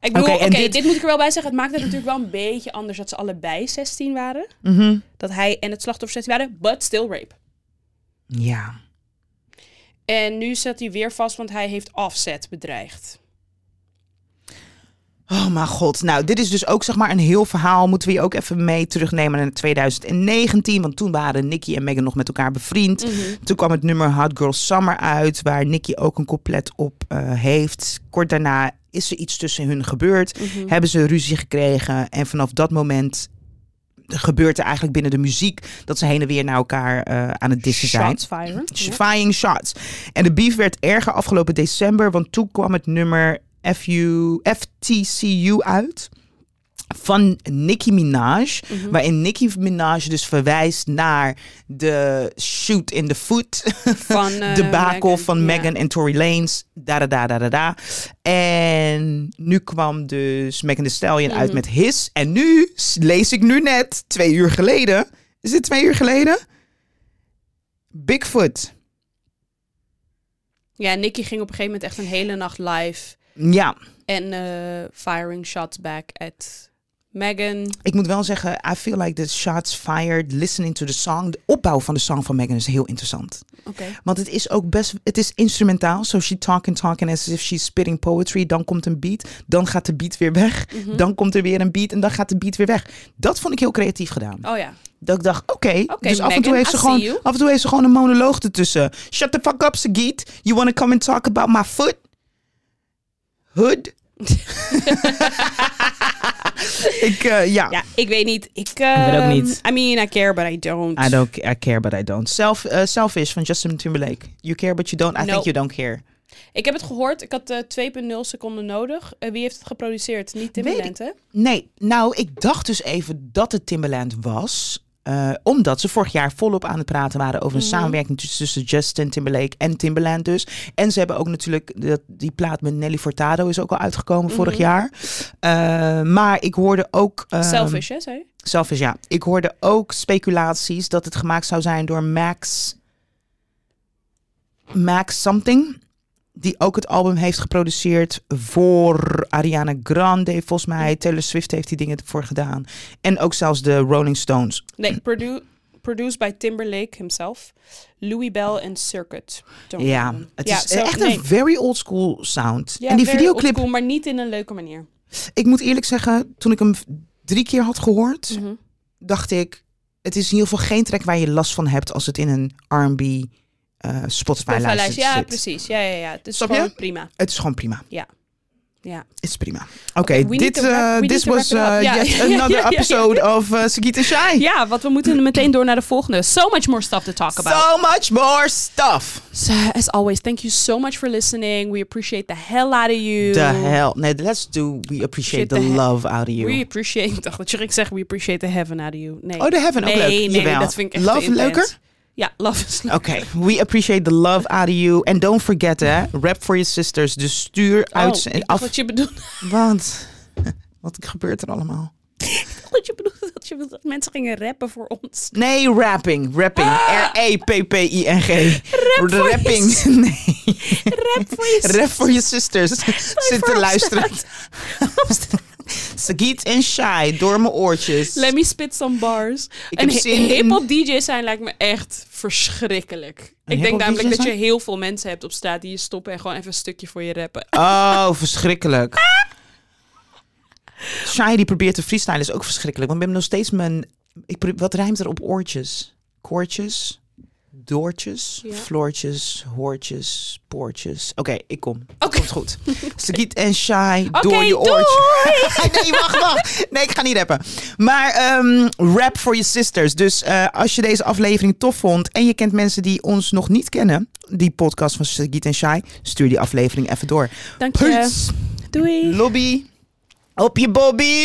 Ik bedoel, Oké, oké, en dit- dit... moet ik er wel bij zeggen. Het maakt het natuurlijk wel een beetje anders dat ze allebei 16 waren. Mhm. Dat hij en het slachtoffer 16 waren, but still rape. Ja. En nu zat hij weer vast, want hij heeft afzet bedreigd. Oh mijn god. Nou, dit is dus ook zeg maar een heel verhaal. Moeten we je ook even mee terugnemen naar 2019. Want toen waren Nicky en Megan nog met elkaar bevriend. Mm. Mhm. Toen kwam het nummer Hot Girl Summer uit. Waar Nicky ook een couplet op eh, heeft. Kort daarna is er iets tussen hun gebeurd. Hebben ze ruzie gekregen. En vanaf dat moment gebeurt er eigenlijk binnen de muziek... dat ze heen en weer naar elkaar eh, aan het dissen zijn. Shots firen. Ja. Fying shots. En de beef werd erger afgelopen december, want toen kwam het nummer FU, FTCU uit. Van Nicki Minaj, Mhm. waarin Nicki Minaj dus verwijst naar de shoot in the foot, [laughs] Van, eh, de bakel Meghan, van ja. Meghan en Tory Lanez, da da da da da da. En nu kwam dus Megan Thee Stallion Mhm. uit met His. En nu s- lees ik nu net, twee uur geleden, is dit twee uur geleden? Bigfoot. Ja, Nicky ging op een gegeven moment echt een hele nacht live. Ja, En eh, firing shots back at Megan. ik moet wel zeggen, I feel like the shots fired, listening to the song. De opbouw van de song van Megan is heel interessant. Oké. Want het is ook best, het is instrumentaal. So she talking, talking as if she's spitting poetry. Dan komt een beat, dan gaat de beat weer weg. Mhm. Dan komt er weer een beat en dan gaat de beat weer weg. Dat vond ik heel creatief gedaan. Oh ja. Dat ik dacht, oké, Oké, dus af en, toe Megan, heeft ze I gewoon, see you. af en toe heeft ze gewoon een monoloog ertussen. Shut the fuck up, Sagitt. You wanna come and talk about my foot? [laughs] Hood? [laughs] ik, eh, ja. Ja, ik weet niet. Ik, weet ook ehm, niet. I mean, I care, but I don't. I don't I care, but I don't. Self, eh, selfish van Justin Timberlake. You care, but you don't. I No. think you don't care. Ik heb het gehoord. Ik had eh, 2,0 seconden nodig. Eh, wie heeft het geproduceerd? Niet Timbaland, hè? Nee, nou, ik dacht dus even dat het Timberland was. eh, omdat ze vorig jaar volop aan het praten waren over een samenwerking tussen tussen Justin Timberlake en Timberland dus. En ze hebben ook natuurlijk, dat, die plaat met Nelly Furtado is ook al uitgekomen vorig jaar. Eh, maar ik hoorde ook... ehm, Selfish, hè, zei je? Selfish, ja. Ik hoorde ook speculaties dat het gemaakt zou zijn door Max... Max something. Die ook het album heeft geproduceerd voor Ariana Grande, volgens mij. Taylor Swift heeft die dingen ervoor gedaan. En ook zelfs de Rolling Stones. Nee, produ- produced by Timberlake himself. Louis Bell en Circuit. Don't Ja, remember. het Ja, is zo- echt nee. een very old school sound. Ja, en die very videoclip, oldschool, maar niet in een leuke manier. ik moet eerlijk zeggen, toen ik hem drie keer had gehoord, Mhm. dacht ik, het is in ieder geval geen track waar je last van hebt als het in een R&B eh, Spotify-lijst Profilijst, zit. ja, precies. Ja, ja, ja. Het is Snap je? gewoon [laughs] prima. Het is gewoon prima. Ja. Het is prima. Oké, we need dit to wrap- eh, we need this to was wrap it eh, up. Ja. [laughs] yet Ja, ja, another ja, ja. episode of eh Sagit en Shai. ja, want we moeten meteen door naar de volgende. So much more stuff to talk about. So much more stuff. So, as always, thank you so much for listening. We appreciate the hell out of you. The hell. Nee, let's do. We appreciate Shit, the the he- love out of you. We appreciate, ik dacht dat je ging zeggen, we appreciate the heaven out of you. Nee. Oh, the heaven, ook nee, leuk. Nee, Jawel. dat vind ik echt Love te intens. leuker? Ja, love is leuk. Oké, we appreciate the love out of you. En don't forget, hè, rap for your sisters. Dus stuur uit oh, en ik af. dacht dat je [laughs] bedoelt. Want, [laughs] wat gebeurt er allemaal? dat je bedoelde dat, je, bedoelde dat mensen gingen rappen voor [laughs] ons. Nee, rapping. Rapping. E R-E-P-P-I-N-G. Ah! Rap voor je Rapping. [laughs] Nee. Rap voor je Rap voor je sisters. [laughs] Zit te voor luisteren. opstaat. [laughs] Sagiet en Shai door mijn oortjes. Let me spit some bars. Ik een heb zin in- hip-hop DJ zijn lijkt me echt verschrikkelijk. Ik denk hip-hop namelijk DJ dat je zijn? heel veel mensen hebt op straat die je stoppen en gewoon even een stukje voor je rappen. Oh, verschrikkelijk. Shai die probeert te freestylen is ook verschrikkelijk. Want ik ben nog steeds mijn... Ik, pro- wat rijmt er op oortjes? Koortjes? Doortjes, Ja. Floortjes, Hoortjes, Poortjes. Oké, ik kom. Oké. Komt goed. Sagiet en Shai, Oké, door je doei! oortje. [laughs] nee, wacht, wacht. Nee, ik ga niet rappen. Maar ehm, rap for your sisters. Dus eh, als je deze aflevering tof vond en je kent mensen die ons nog niet kennen, die podcast van Sagiet en Shai, stuur die aflevering even door. Dank je. Peace. Doei. Lobby. Op je bobby.